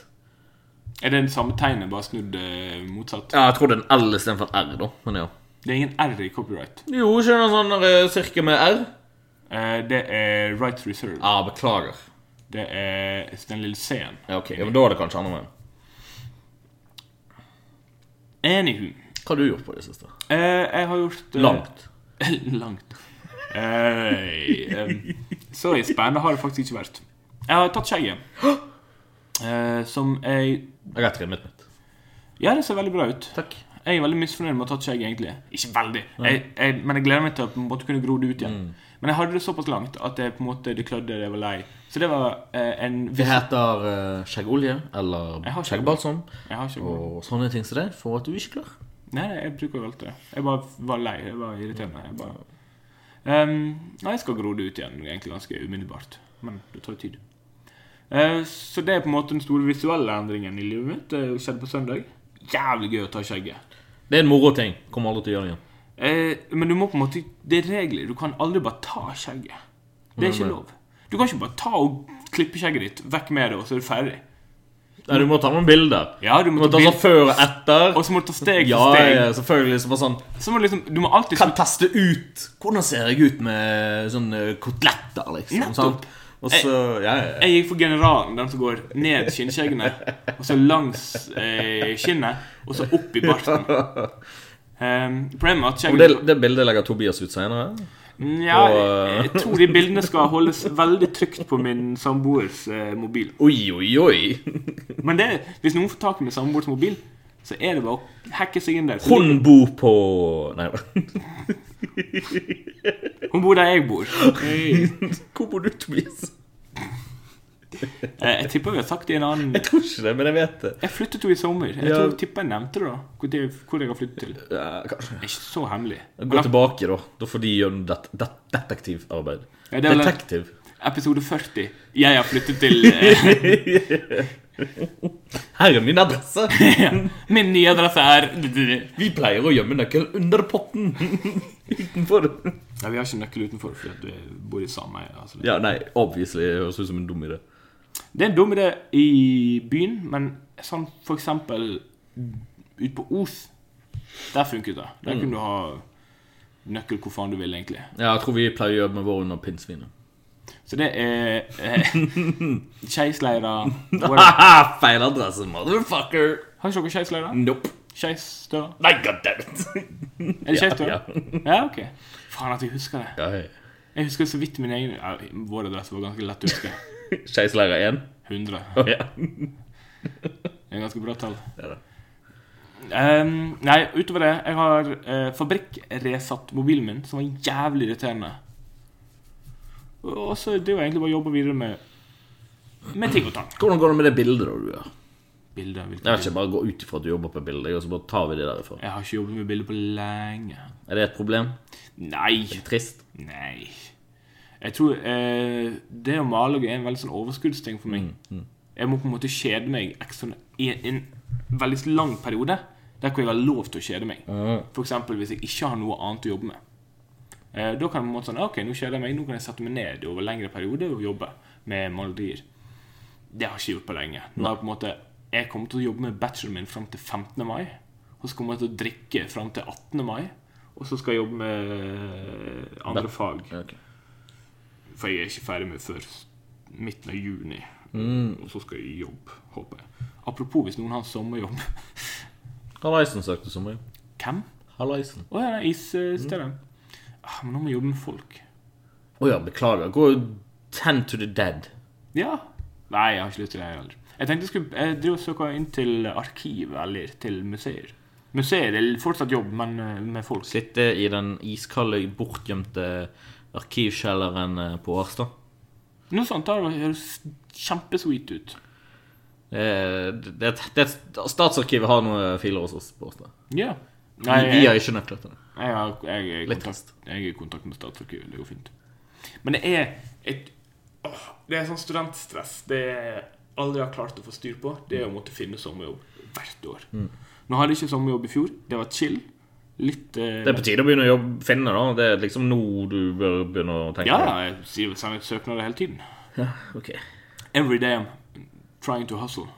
B: Er det den samme tegnet, bare snudd eh, motsatt?
A: Ja, jeg tror det er en L istedenfor en R, da. Men ja.
B: Det er ingen R i copyright.
A: Jo, ikke noe sånn eh, cirka med R?
B: Eh, det er rights reserved.
A: Ja, ah, beklager.
B: Det er den lille C-en.
A: Ja, ok. Ja, men Da er det kanskje andre veien.
B: Anywho.
A: Hva har du gjort på det siste?
B: Eh, jeg har gjort eh,
A: Langt.
B: langt. Eh, eh, så i spennende har det faktisk ikke vært. Jeg har tatt skjegget. Eh, som jeg
A: Jeg har trimmet mitt.
B: Ja, det ser veldig bra ut.
A: Takk.
B: Jeg er veldig misfornøyd med å ha tatt skjegg, egentlig. Ikke veldig, jeg, jeg, men jeg gleder meg til å på en måte kunne gro det ut igjen. Men jeg hadde det såpass langt at jeg på en måte, det klødde, det var lei. Så det var eh, en
A: Det
B: viss
A: heter eh, skjeggolje eller
B: Jeg har skjegg.
A: skjeggbalsam
B: Jeg har ikke
A: og sånne ting som det, for at du ikke klarer.
B: Nei, nei, jeg bruker jo alt det. Jeg bare var lei. Jeg var irriterende. Jeg bare Ehm, Nei, jeg skal gro det ut igjen, egentlig ganske umiddelbart. Men det tar jo tid. Ehm, Eh, så det er på en måte den store visuelle endringen i livet mitt. Det skjedde på søndag. jævlig gøy å ta skjegget.
A: Det er en moro ting. Kommer aldri til å gjøre det igjen.
B: Eh, men du må på en måte Det er regler. Du kan aldri bare ta skjegget. Det er ikke lov. Du kan ikke bare ta og klippe skjegget ditt, vekk med det, og så er du ferdig.
A: Nei, du må ta noen bilder.
B: Ja, du
A: Du
B: må
A: må
B: ta
A: ta sånn
B: sånn bild-
A: før og etter.
B: Og så må du ta steg
A: Ja,
B: for steg.
A: ja, selvfølgelig. Så bare sånn
B: Så må du liksom Du må alltid
A: Kan teste ut Hvordan ser jeg ut med sånn eh, koteletter, liksom?
B: Nettopp. Eh.
A: Sant? Og så ja, ja, ja.
B: Jeg gikk for generalen, den som går ned skinnskjeggene, og så langs eh, skinnet, og så opp i barten. Um, problemet er at
A: Og det,
B: skjegget
A: det bildet legger Tobias ut senere.
B: Nja, jeg, jeg tror de bildene skal holdes veldig trygt på min samboers eh, mobil.
A: Oi, oi, oi.
B: Men det, hvis noen får tak i min samboers mobil, så er det bare å hacke seg inn der. Hun,
A: Hun bor på Nei,
B: bor der jeg bor. Eh,
A: hvor bor du, Tobias?
B: Eh, jeg tipper vi har sagt det i en annen
A: Jeg tror ikke det, men jeg vet det.
B: Jeg flyttet jo i sommer. Jeg
A: Ja.
B: tror jeg tipper jeg nevnte det, da. Hvor, det, hvor jeg har flyttet til. Det
A: Ja, kanskje.
B: er ikke så hemmelig.
A: Gå tilbake, da. Da får de gjøre noe det, det, detektivarbeid.
B: Ja, det er vel-
A: Detektiv.
B: Episode 40. Jeg har flyttet til eh,
A: Her er min adresse!
B: Min nye adresse er
A: Vi pleier å gjemme nøkkelen under potten. Utenfor.
B: Nei, Vi har ikke nøkkel utenfor fordi at vi bor i sameie. Altså.
A: Ja, nei, obviously. Det høres ut som en dum idé.
B: Det er en dum idé i byen, men sånn for eksempel ute på Os Der funket det.
A: Mm.
B: Der kunne du ha nøkkel hvor faen du vil, egentlig.
A: Ja, jeg tror vi pleier å gjemme vår under pinnsvinet.
B: Så det er eh, Skeisleira whatever.
A: Haha, Feil adresse, motherfucker!
B: Har ikke dere skeisleira?
A: Nope.
B: Skeisdøra?
A: Nei, goddammit!
B: Er det skeisdøra?
A: Ja,
B: ja, ok. Faen at jeg husker det.
A: Ja,
B: Jeg husker så vidt min egen ja, Vår adresse var ganske lett å huske.
A: Skeisleira 1?
B: 100.
A: Å ja.
B: Det er ganske bra tall.
A: Det er det.
B: Ehm, nei, utover det Jeg har uh, fabrikkresatt mobilen min, som var jævlig irriterende. Og og så driver jeg egentlig bare og jobber videre med Med ting og tang.
A: Hvordan går det med det bildet da du gjør?
B: Bilder. hvilke
A: Jeg vet
B: bilder.
A: ikke, bare gå ut ifra at du jobber på bildet, og så bare tar vi det derifra.
B: Jeg har ikke jobbet med bilder på lenge.
A: Er det et problem?
B: Nei.
A: Trist?
B: Nei. Jeg tror eh, det å male er en veldig sånn overskuddsting for meg. Jeg må på en måte kjede meg ekstra, i en, en veldig lang periode der hvor jeg har lov til å kjede meg. For eksempel hvis jeg ikke har noe annet å jobbe med. Eh, da kan jeg på en måte sånn Ok, nå kjeder jeg meg. Nå kan jeg sette meg ned over lengre perioder og jobbe med malerier. Det har jeg ikke gjort på lenge. Nå har jeg på en måte Jeg kommer til å jobbe med bacheloren min fram til 15. mai. Og så kommer jeg til å drikke fram til 18. mai. Og så skal jeg jobbe med eh, andre fag.
A: Ja, ok.
B: For jeg er ikke ferdig med før midten av juni.
A: Mm.
B: Og så skal jeg i jobb, håper jeg. Apropos hvis noen har en sommerjobb.
A: Hallaisen søkte så mye.
B: Hvem?
A: Hallaisen.
B: Å ja, isstedet.
A: Mm.
B: Ah, men nå må jeg jobbe med folk.
A: Å ja, beklager. Gå ten to the dead.
B: Ja. Nei, jeg har ikke lyst til det jeg heller. Jeg tenkte jeg skulle jeg driver og søker inn til arkiv eller til museer. Museer er fortsatt jobb, men eh, med folk.
A: Sitte i den iskalde, bortgjemte arkivkjelleren eh, på Årstad.
B: Noe sånt der høres kjempesweet ut.
A: Det, er- det, er- det, er- Statsarkivet har noen filer hos oss på Årstad.
B: Ja.
A: Vi,
B: Nei,
A: vi
B: jeg,
A: har ikke nøkler til det.
B: jeg, har- jeg, er i
A: Litt
B: kontakt, jeg er i kontakt med Statsarkivet. Det går fint. Men det er et åh, Det er sånn studentstress det jeg aldri har klart å få styr på. Det er å måtte finne sommerjobb hvert år.
A: Mm.
B: Nå hadde jeg ikke sommerjobb i fjor. Det var chill. Litt eh,
A: Det er på tide å begynne å jobbe, finne, da. Det er liksom nå du bør begynne å tenke
B: Ja,
A: på
B: ja, jeg sier- sender ut søknader hele tiden.
A: det. Ok.
B: Every day I'm trying to hustle.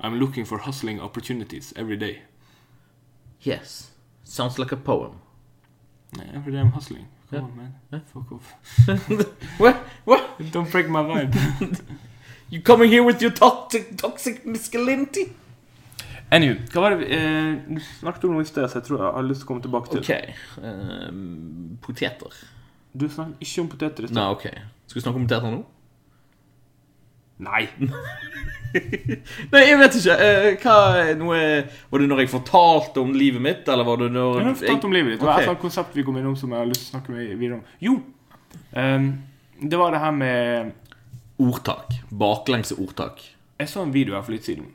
B: I'm looking for hustling opportunities every day.
A: Yes. Sounds like a poem.
B: Nei, Every day I'm hustling. Come on, man. Fuck off.
A: What? What?
B: Don't break my vibe.
A: You coming here with your toxic, toxic masculinity?
B: Anywho, hva var det vi eh, Du snakket om noe i sted, så jeg tror jeg har lyst til å komme tilbake til.
A: Ok. ehm, poteter.
B: Du snakket ikke om poteter i sted.
A: Nei, ok. Skal vi snakke om poteter nå?
B: Nei.
A: Nei, jeg vet ikke. Eh, hva er noe Var det når jeg fortalte om livet mitt, eller var det når
B: Jeg har fortalt om livet ditt. Det var
A: Ok.
B: et sånt konsept vi kom innom som jeg har lyst til å snakke med videre om. Jo! ehm, det var det her med
A: Ordtak. Baklengse ordtak.
B: Jeg så en video her for litt siden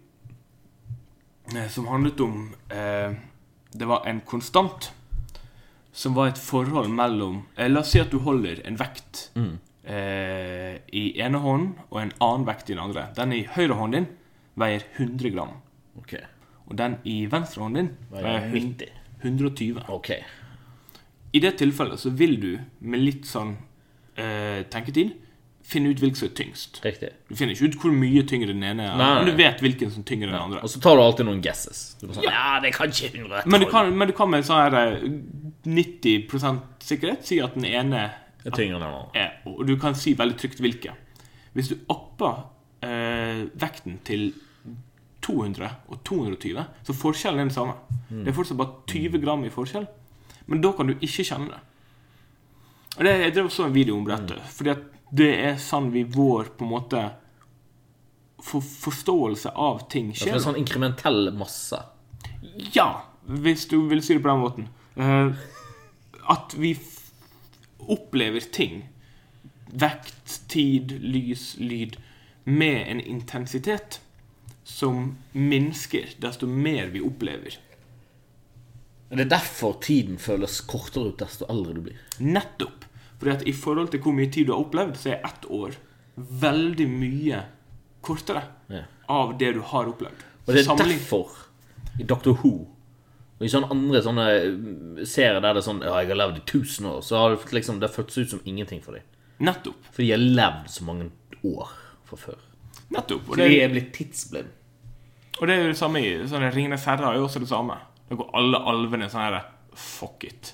B: eh, som handlet om eh, Det var en konstant som var et forhold mellom eh, La oss si at du holder en vekt
A: Mm.
B: eh, i ene hånden og en annen vekt i den andre. Den i høyre hånden din veier 100 gram.
A: Ok.
B: Og Og den i venstre hånden din
A: Ja,
B: er hun-
A: 90.
B: 120.
A: OK.
B: I det tilfellet så vil du, med litt sånn eh, tenketid, finne ut hvilken som er tyngst.
A: Riktig.
B: Du finner ikke ut hvor mye tyngre den ene er,
A: Nei.
B: men du vet hvilken som er tyngre enn den andre.
A: Og så tar du alltid noen guesses. Du bare sånn, ja, det er kanskje 100
B: Men du kan, men du kan med sånn her eh, 90 sikkerhet si at den ene
A: Det er tyngre enn den andre.
B: er Og du kan si veldig trygt hvilke. Hvis du opper eh, vekten til 200 og 220, så forskjellen er den samme.
A: Mm.
B: Det er fortsatt bare 20 gram i forskjell, men da kan du ikke kjenne det. Og det, Jeg drev og så en video om dette,
A: Mm.
B: fordi at det er sånn vi vår på en måte for, forståelse av ting
A: Det
B: skjer.
A: er sånn inkrementell masse.
B: Ja, hvis du vil si det på den måten. Eh, at vi f opplever ting, vekt, tid, lys, lyd, med en intensitet som minsker desto mer vi opplever.
A: Det er derfor tiden føles kortere ut desto eldre du blir.
B: Nettopp. Fordi at i forhold til hvor mye tid du har opplevd, så er ett år veldig mye kortere
A: Ja.
B: av det du har opplevd.
A: Og det er
B: Sammenlign-
A: derfor i Doctor Who og i sånne andre sånne mm, serier der det er sånn Ja, jeg har levd i 1000 år, så har det fått liksom, det har føltes ut som ingenting for dem.
B: Nettopp.
A: For de har levd så mange år fra før.
B: Nettopp. Og
A: De
B: det,
A: er blitt tidsblind.
B: Og det er jo det samme i sånn sånne Ringenes herre er jo også det samme. Da går alle alvene sånn her Fuck it.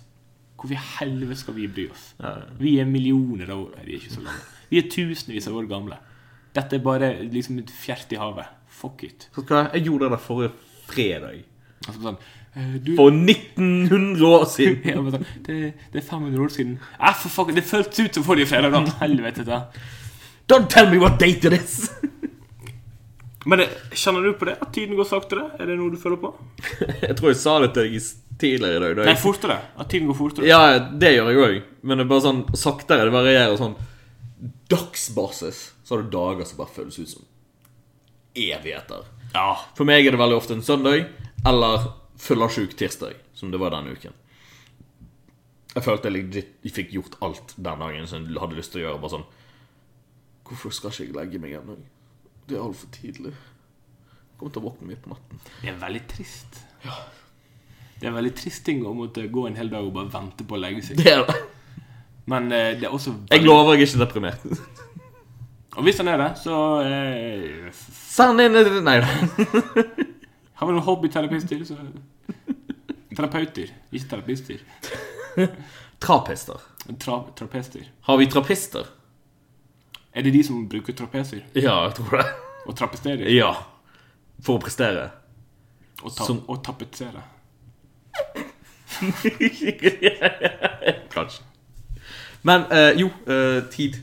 B: Hvorfor i helvete skal vi bry oss? Vi er millioner av år Nei, vi er ikke så gamle. Vi er tusenvis av år gamle. Dette er bare liksom et fjert i havet. Fuck it.
A: Vet du hva? Jeg gjorde det der forrige fredag.
B: Og så sånn eh, du,
A: For 1900 år siden.
B: Ja, men sånn, det, det er 500 år siden. Eh, for fuck, det føltes ut som forrige fredag. da. Helvete. da.
A: Don't tell me what date it is!
B: Men det, kjenner du på det? At tiden går saktere? Er det noe du føler på?
A: Jeg tror jeg sa det til deg i- tidligere i dag. da jeg-
B: Nei, fortere. At tiden går fortere.
A: Ja, det gjør jeg òg. Men det er bare sånn saktere. Det varierer sånn Dagsbasis. Så har du dager som bare føles ut som evigheter.
B: Ja.
A: For meg er det veldig ofte en søndag eller fyllesyk tirsdag, som det var denne uken. Jeg følte jeg legit jeg fikk gjort alt den dagen som jeg hadde lyst til å gjøre. Bare sånn Hvorfor skal ikke jeg legge meg ennå? Det er altfor tidlig. Jeg kommer til å våkne midt på natten.
B: Det er veldig trist. Det er en veldig trist ting å måtte gå en hel dag og bare vente på å legge seg.
A: Det er det.
B: Men eh, det er også
A: Jeg
B: veldig...
A: lover jeg er ikke deprimert.
B: Og hvis han er det, så eh, f-
A: Send inn Nei da.
B: har vi noen hobbyterapister. Så... Terapeuter, ikke terapister.
A: Trapister.
B: Tra trapester.
A: Har vi trapister?
B: Er det de som bruker trapeser
A: Ja, jeg tror det.
B: og trapesterer
A: Ja. For å prestere.
B: og, ta
A: Som-
B: og tapetserer?
A: Kanskje. Men eh, jo, eh, tid.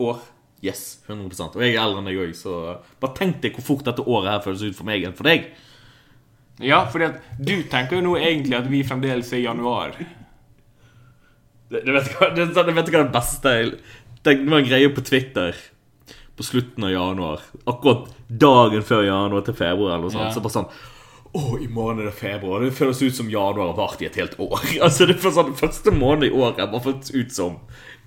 A: År. Yes, 100 Og jeg er eldre enn deg òg, så bare tenk deg hvor fort dette året her føles ut for meg enn for deg.
B: Ja, fordi at du tenker jo nå egentlig at vi fremdeles er i januar.
A: Det, det vet du hva, det, det, vet du hva det beste er? Det var en greie på Twitter på slutten av januar. Akkurat dagen før januar til februar. eller noe sånt,
B: Ja.
A: Så bare sånn Å, i morgen er det februar. Det føles ut som januar har vart i et helt år. Altså, det er sånn, Den første måneden i året har bare føltes ut som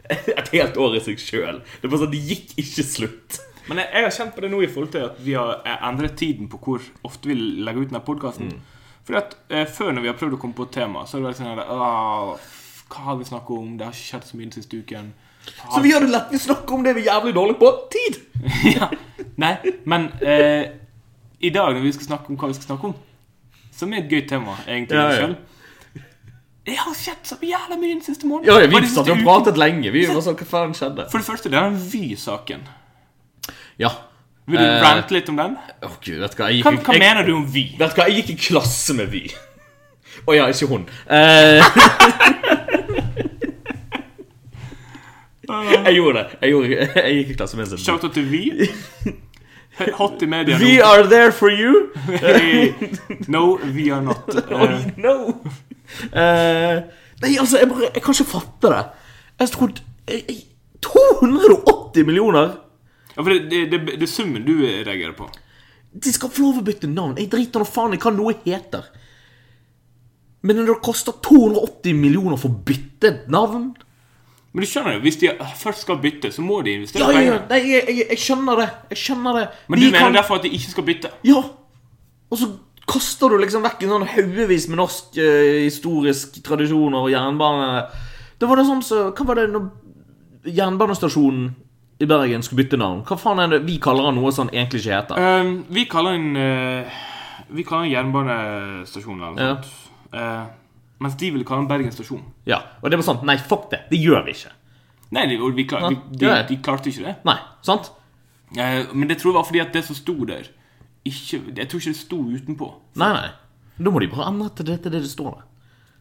A: et helt år i seg sjøl. Det er bare sånn, det gikk ikke slutt.
B: Men jeg, jeg har kjent på det nå i forhold til at vi har eh, endret tiden på hvor ofte vi legger ut denne podkasten.
A: Mm.
B: Fordi at eh, Før, når vi har prøvd å komme på et tema, så har det vært sånn her «Åh, f- Hva har vi snakket om? Det har ikke skjedd så mye den siste uken.
A: Så vi gjør det lett. Vi snakker om det vi er jævlig dårlige på. Tid!
B: ja. Nei, men eh, i dag, når vi skal snakke om hva vi skal snakke om, som er et gøy tema egentlig
A: Ja,
B: i
A: ja.
B: seg selv Det har skjedd så jævla mye den siste måneden.
A: Ja, ja,
B: Bare
A: vi
B: den siste
A: satt og
B: uken.
A: pratet lenge. Vi var sånn, hva faen skjedde?
B: For det første, det er den Vy-saken.
A: Ja.
B: Vil du
A: Eh,
B: rante litt om den?
A: Å, gud, vet du hva. Jeg
B: Hva,
A: gikk,
B: hva
A: jeg,
B: mener du om Vy?
A: Vet du hva, jeg gikk i klasse med Vy. Å ja, ikke hun. Eh, jeg gjorde det. Jeg, gjorde, jeg gikk i klasse med henne.
B: Shout out til Vy. Hot i media
A: We
B: nå.
A: are there for you.
B: No, we are not.
A: Oh,
B: Eh,
A: no. Eh, nei, altså, jeg, bare, jeg kan ikke fatte det. Jeg trodde jeg, jeg, 280 millioner!
B: ja, for det, det, det, det er summen du reagerer på.
A: De skal få lov å bytte navn. Jeg driter nå faen i hva noe heter. Men når det koster 280 millioner for å bytte et navn
B: Men du skjønner jo, hvis de først skal bytte, så må de investere
A: Ja, ja, ja,
B: pengene.
A: nei, jeg, jeg, jeg skjønner det. Jeg skjønner det.
B: Men
A: Vi
B: du mener
A: kan-
B: derfor at de ikke skal bytte?
A: Ja! Og så kaster du liksom vekk en sånn haugevis med norsk eh, historisk tradisjoner og jernbane. Det var det sånn så, Hva var det når jernbanestasjonen i Bergen skulle bytte navn? Hva faen er det vi kaller han noe sånn egentlig ikke heter?
B: Ehm, vi kaller den eh, Vi kaller den jernbanestasjonen eller
A: Ja.
B: noe sånt. Eh, mens de vil kalle den Bergen stasjon.
A: Ja, Og det var sånn Nei, fuck det. Det gjør vi ikke.
B: Nei, de, og vi klar,
A: Nei,
B: vi, de,
A: det er-
B: de klarte ikke det.
A: Nei, sant?
B: Eh, men det tror jeg var fordi at det som sto der ikke, Jeg tror ikke det sto utenpå.
A: Nei, nei. Da må de bare endre til det, til det det står der.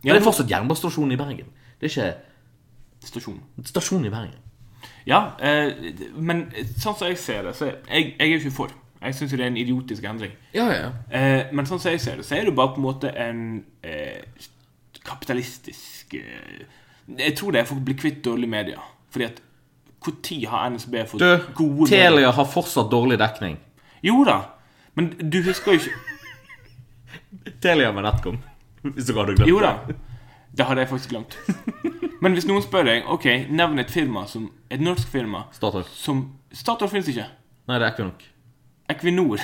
B: Ja,
A: det er fortsatt jernbanestasjonen i Bergen. Det er ikke
B: stasjon.
A: stasjonen i Bergen.
B: Ja, eh, men sånn som jeg ser det, så er jeg, jeg er jo ikke for. Jeg syns det er en idiotisk endring.
A: Ja, ja, ja.
B: Eh, men sånn som jeg ser det, så er det jo bare på en måte en eh, kapitalistisk eh, Jeg tror det er for å bli kvitt dårlige medier. Fordi at når har NSB fått
A: Du,
B: gode medier?
A: Telia har fortsatt dårlig dekning.
B: Jo da, men du husker jo ikke
A: Telia med Netcom. Hvis du hadde glemt
B: Jo da. Det hadde jeg faktisk glemt. Men hvis noen spør deg Ok, nevn et firma som et norsk firma
A: Statoil.
B: som Statoil finnes ikke.
A: Nei, det er ikke nok.
B: Equinor.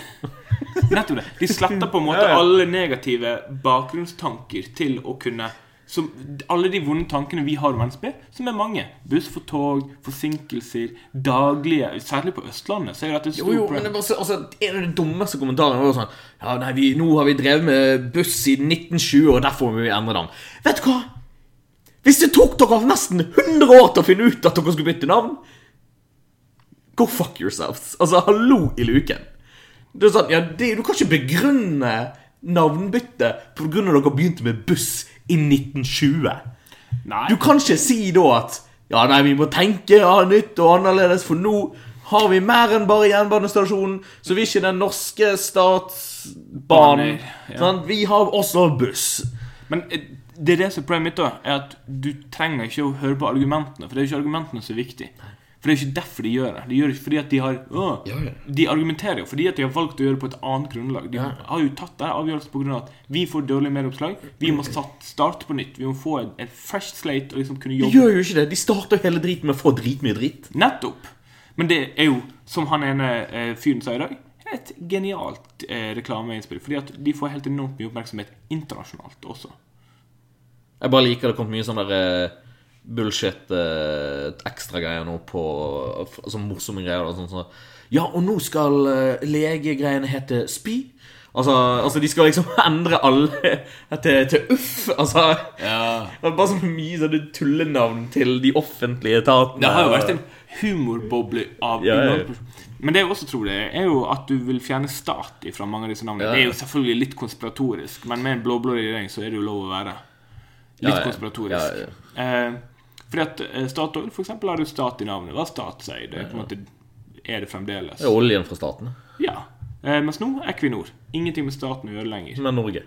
B: Nettopp det. De sletter på en måte
A: Ja, ja.
B: alle negative bakgrunnstanker til å kunne som, Alle de vonde tankene vi har om NSB, som er mange. Buss for tog, forsinkelser, daglige Særlig på Østlandet så er det et
A: Jo,
B: stort
A: jo, men
B: problem.
A: det var så, altså, En av de dummeste kommentarene var jo sånn Ja, nei, vi, nå har vi drevet med buss siden 1920, og derfor må vi endre den. Vet du hva? Hvis det tok dere nesten 100 år til å finne ut at dere skulle bytte navn Go fuck yourselves. Altså, hallo i luken. Det er sånn, ja, det, Du kan ikke begrunne navnbytte pga. at dere begynte med buss i 1920.
B: Nei.
A: Du kan ikke si da at Ja, nei, vi må tenke ja, nytt og annerledes, for nå har vi mer enn bare jernbanestasjonen, så vi er ikke den norske statsbanen.
B: Baner, ja.
A: sant? Vi har også buss.
B: Men eh, det er det som er problemet mitt, da. Er at du trenger ikke å høre på argumentene. For det er jo ikke argumentene som er viktige. For det er jo ikke derfor de gjør det. De gjør det ikke fordi at de har «Åh».
A: Ja, ja.
B: De argumenterer jo fordi at de har valgt å gjøre det på et annet grunnlag. De har jo tatt denne avgjørelsen på grunn av at vi får dårlige medieoppslag. Vi må sat- starte på nytt. Vi må få en, en fresh slate og liksom kunne
A: De
B: jobbe
A: gjør jo ikke det. De starter jo hele driten med å få dritmye drit.
B: Nettopp! Men det er jo, som han ene eh, fyren sa i dag, et genialt eh, reklameinnspill. Fordi at de får helt enormt mye oppmerksomhet internasjonalt også.
A: Jeg bare liker det har kommet mye sånn der eh, bullshit eh, ekstragreier nå på Sånn morsomme greier. da, sånn, sånn, ja, og nå skal eh, legegreiene hete spy. Altså, altså, de skal liksom endre alle til, til uff. Altså Det er Bare så mye sånne tullenavn til de offentlige etatene.
B: Det har jo vært en humorboble av
A: Eh, Ja, ja, ja.
B: Men det jeg også tror det er, er jo at du vil fjerne stat fra mange av disse navnene.
A: Ja.
B: Det er jo selvfølgelig litt konspiratorisk, men med en blå-blå regjering så er det jo lov å være litt
A: Ja, ja.
B: konspiratorisk. Eh, fordi at eh, Statoil for eksempel har jo stat i navnet. Hva er statseid? Det er På en måte er det fremdeles.
A: Det er oljen fra staten.
B: Ja. Eh, mens nå Equinor. Ingenting med staten å gjøre lenger.
A: Men Norge.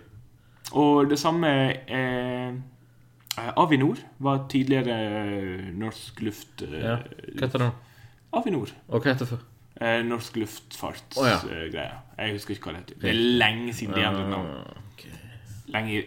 B: Og det samme eh, eh, Avinor var tidligere eh, norsk luft... Eh,
A: Ja. Hva heter det nå?
B: Avinor.
A: Og hva heter det før?
B: Eh, norsk luftfartsgreie.
A: Å, ja.
B: Jeg husker ikke hva det heter. Det er lenge siden de endret navn. Lenge i,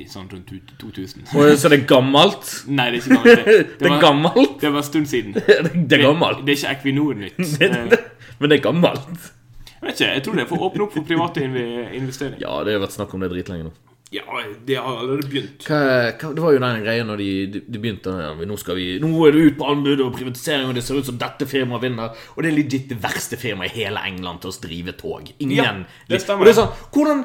B: i sånn rundt ut- 2000.
A: Og Så det er gammelt?
B: Nei, det er ikke gammelt.
A: Det er
B: var,
A: gammelt!
B: det var en stund siden.
A: Det er gammelt.
B: Det er ikke Equinor nytt. Eh,
A: Men det er gammelt.
B: Jeg vet ikke, jeg tror det er for å åpne opp for private inve- investeringer.
A: Ja, det har vært snakk om det dritlenge nå.
B: Ja, det har allerede begynt.
A: Hva, hva, det var jo den greia når de, de, de begynte ja, vi- nå, skal vi, nå er det ut på anbud og privatisering, og det ser ut som dette firmaet vinner. Og det er legit det verste firmaet i hele England til å drive tog. Ingen
B: Ja, det stemmer.
A: Og det er sånn, hvordan,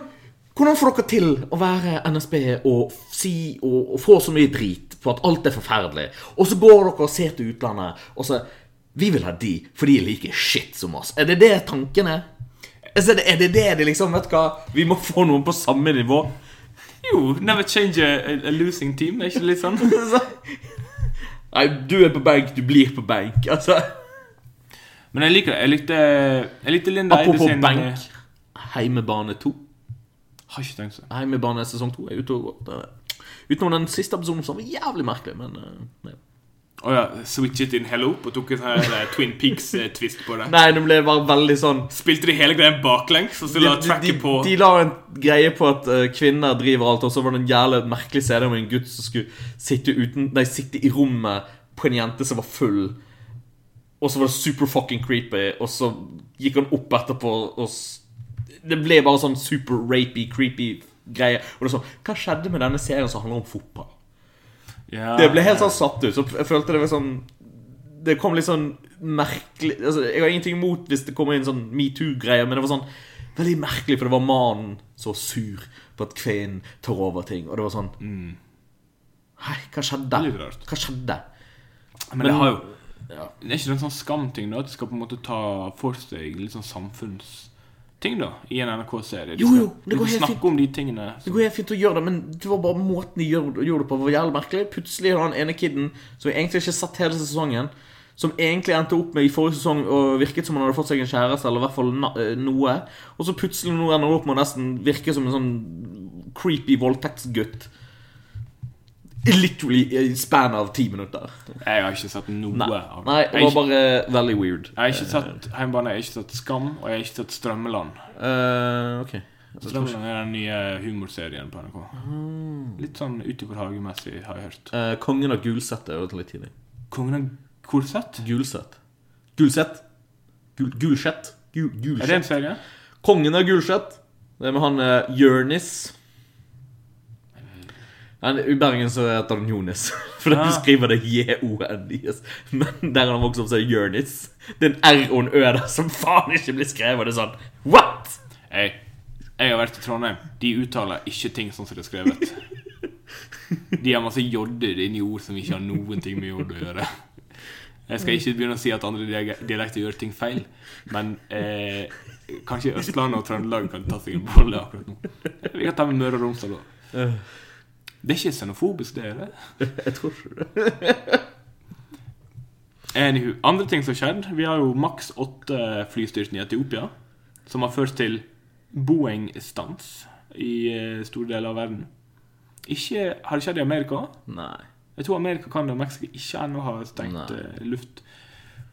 A: hvordan får dere til å være NSB og, f- si, og, og få så mye drit på at alt er forferdelig, og så går dere og ser til utlandet, og så Vi vil ha de, for de er like shit som oss. Er det det tanken er? Altså, er det- er det det de liksom Vet du hva, vi må få noen på samme nivå?
B: Jo, never change a, a losing team, er ikke det litt sånn?
A: Så- Nei, du er på benk, du blir på benk. Altså,
B: Men jeg liker det. Jeg likte, jeg likte Linda Eide
A: apropos
B: sin eh,
A: benk. Heimebane 2.
B: Har ikke tenkt seg.
A: Heimebane sesong 2 er ute og går. Det- Utenom den siste episoden, som var jævlig merkelig, men eh, ja.
B: Å ja, switchet inn Hello og tok en sånn her eh, Twin Peaks-twist på det.
A: Nei, det ble bare veldig sånn
B: Spilte de hele greia baklengs, og så la tracket på
A: de la en greie på at eh, kvinner driver alt, og så var det en jævlig merkelig CD om en gutt som skulle sitte, uten, nei, sitte i rommet på en jente som var full. Og så var det super fucking creepy, og så gikk han opp etterpå og s- Det ble bare sånn super rapey, creepy greie. Og det er sånn, Hva skjedde med denne serien som handler om fotball?
B: Ja,
A: Det ble helt sånn satt ut. Så jeg følte det var sånn Det kom litt sånn merkelig altså, Jeg har ingenting imot hvis det kommer inn sånn metoo-greier, men det var sånn veldig merkelig, for det var mannen så sur på at kvinnen tar over ting, og det var sånn Hei, hva skjedde?
B: Mm. Litt rart.
A: Hva skjedde?
B: Men, det har jo
A: Ja.
B: Det er ikke en sånn skamting da at du skal på en måte ta for seg litt sånn samfunnsting da i en NRK-serie. Du
A: Jo,
B: skal-
A: jo, det
B: du
A: går
B: skal
A: helt
B: snakke
A: fint.
B: om de tingene.
A: Det går helt fint å gjøre det, men det var bare måten de gjør- gjorde det på var jævlig merkelig. Plutselig har han ene kiden som jeg egentlig ikke har sett hele sesongen, som egentlig endte opp med i forrige sesong og virket som han hadde fått seg en kjæreste, eller i hvert fall na eh, noe, og så plutselig nå ender han opp med å nesten virke som en sånn creepy voldtektsgutt. Literally i span av ti minutter.
B: Jeg har ikke sett noe
A: Nei,
B: av det.
A: Nei
B: jeg,
A: det var
B: har ikke-
A: bare veldig weird.
B: jeg har ikke sett Heimbane, jeg har ikke sett Skam, og jeg har ikke sett Strømmeland.
A: Eh, ok.
B: Strømmeland er den nye humorserien på NRK.
A: Ah.
B: Litt sånn utover hagemessig, har jeg hørt.
A: Eh, Kongen av Gulset er jo litt tidlig.
B: Kongen av Korsett?
A: Gulset. Gulset. Gul, gulsett. Gul,
B: Er det en
A: gulsett.
B: serie?
A: Kongen av Gulset. Det er med han uh, Jørnis. Men I Bergen så heter han Jonis. For
B: Ah.
A: de skriver det J-O-N-I-S. Men der han vokste opp, så er det Jørnis. Det er en R og en Ø der som faen ikke blir skrevet. Det er sånn What?!
B: Jeg, jeg har vært i Trondheim. De uttaler ikke ting sånn som det er skrevet. De har masse jodder inni ord som ikke har noen ting med jod å gjøre. Jeg skal ikke begynne å si at andre dialek- dialekter gjør ting feil, men eh, kanskje Østlandet og Trøndelag kan ta seg en bolle akkurat nå. Vi kan ta med Møre og Romsdal òg. Det er ikke xenofobisk, det er det?
A: Jeg tror ikke det.
B: Anywho, andre ting som har skjedd Vi har jo maks åtte flystyrten i Etiopia Som har ført til Boeing-stans I eh, store deler av verden Ikke, har det skjedd i Amerika?
A: Nei.
B: Jeg tror Amerika kan det, og Mexico ikke ennå har stengt
A: Nei.
B: eh, luft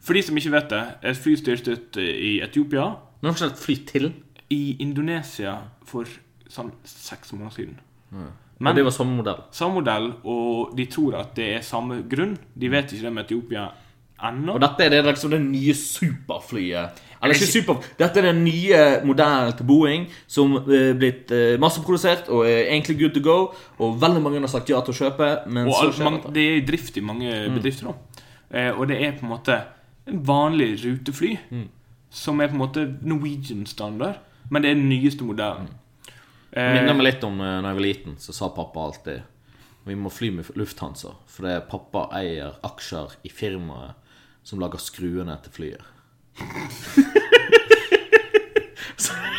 B: For de som ikke vet det Et fly styrtet eh, i Etiopia
A: Men har ikke et fly til?
B: I Indonesia for sånn seks måneder siden
A: Men det var samme modell.
B: Samme modell, og de tror at det er samme grunn De vet ikke det med Etiopia ennå
A: Og dette er det liksom det nye superflyet. Eller ikke
B: Ikke-
A: super, Dette er den nye modellen til Boeing som er blitt eh, masseprodusert og er egentlig good to go. Og veldig mange har sagt ja til å kjøpe, men
B: Og
A: så
B: alt,
A: skjer Mm.
B: man,
A: dette.
B: det er i drift i mange bedrifter da. Eh, og det er på en måte en vanlig rutefly,
A: Mm.
B: som er på en måte Norwegian-standard, men det er den nyeste modellen.
A: Det
B: Eh,
A: Mm. minner meg litt om eh, når jeg var liten, så sa pappa alltid vi må fly med Lufthansa, for det er pappa eier aksjer i firmaet som lager skruene til flyet.
B: Eh,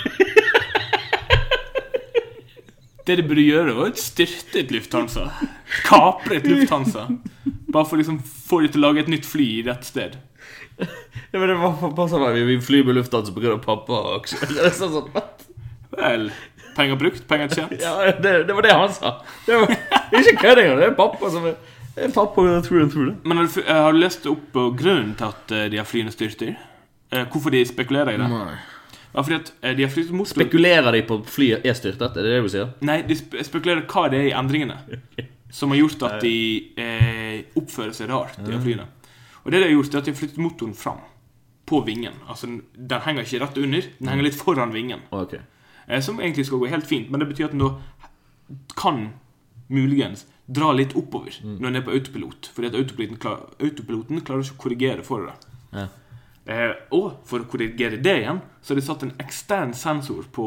B: det de burde gjøre, var å styrte et Lufthansa. Kapre et Lufthansa. Bare for å liksom få de til å lage et nytt fly i rett sted.
A: Ja, men det var pappa sa vi vil fly med Lufthansa pga. pappa og aksjer. Det, er sånn, sånn, what?
B: Vel, penger brukt, penger tjent.
A: Ja, det, det var det han sa. Det var, ikke kødd engang. Det er pappa som er det er pappa jeg tror jeg tror det.
B: Men har du, fu- eh, har du lest opp på grunnen til at eh, de har flyene styrter? Eh, hvorfor de spekulerer i det? Ja, fordi at eh, de har flyttet motor...
A: Mm. Spekulerer de på at flyet er styrtet? Er det det du sier?
B: Nei, de spe- spekulerer hva det er i endringene som har gjort at de eh, oppfører seg rart, de her flyene. Og det de har gjort, er at de har flyttet motoren fram på vingen. Altså, den- den henger ikke rett under, den henger litt foran vingen.
A: Ok.
B: Eh, som egentlig skal gå helt fint, men det betyr at den da kan muligens dra litt oppover når den er på autopilot. Fordi at autopiloten, klar, autopiloten klarer ikke å korrigere for det.
A: Ja.
B: Eh, og for å korrigere det igjen, så er det satt en ekstern sensor på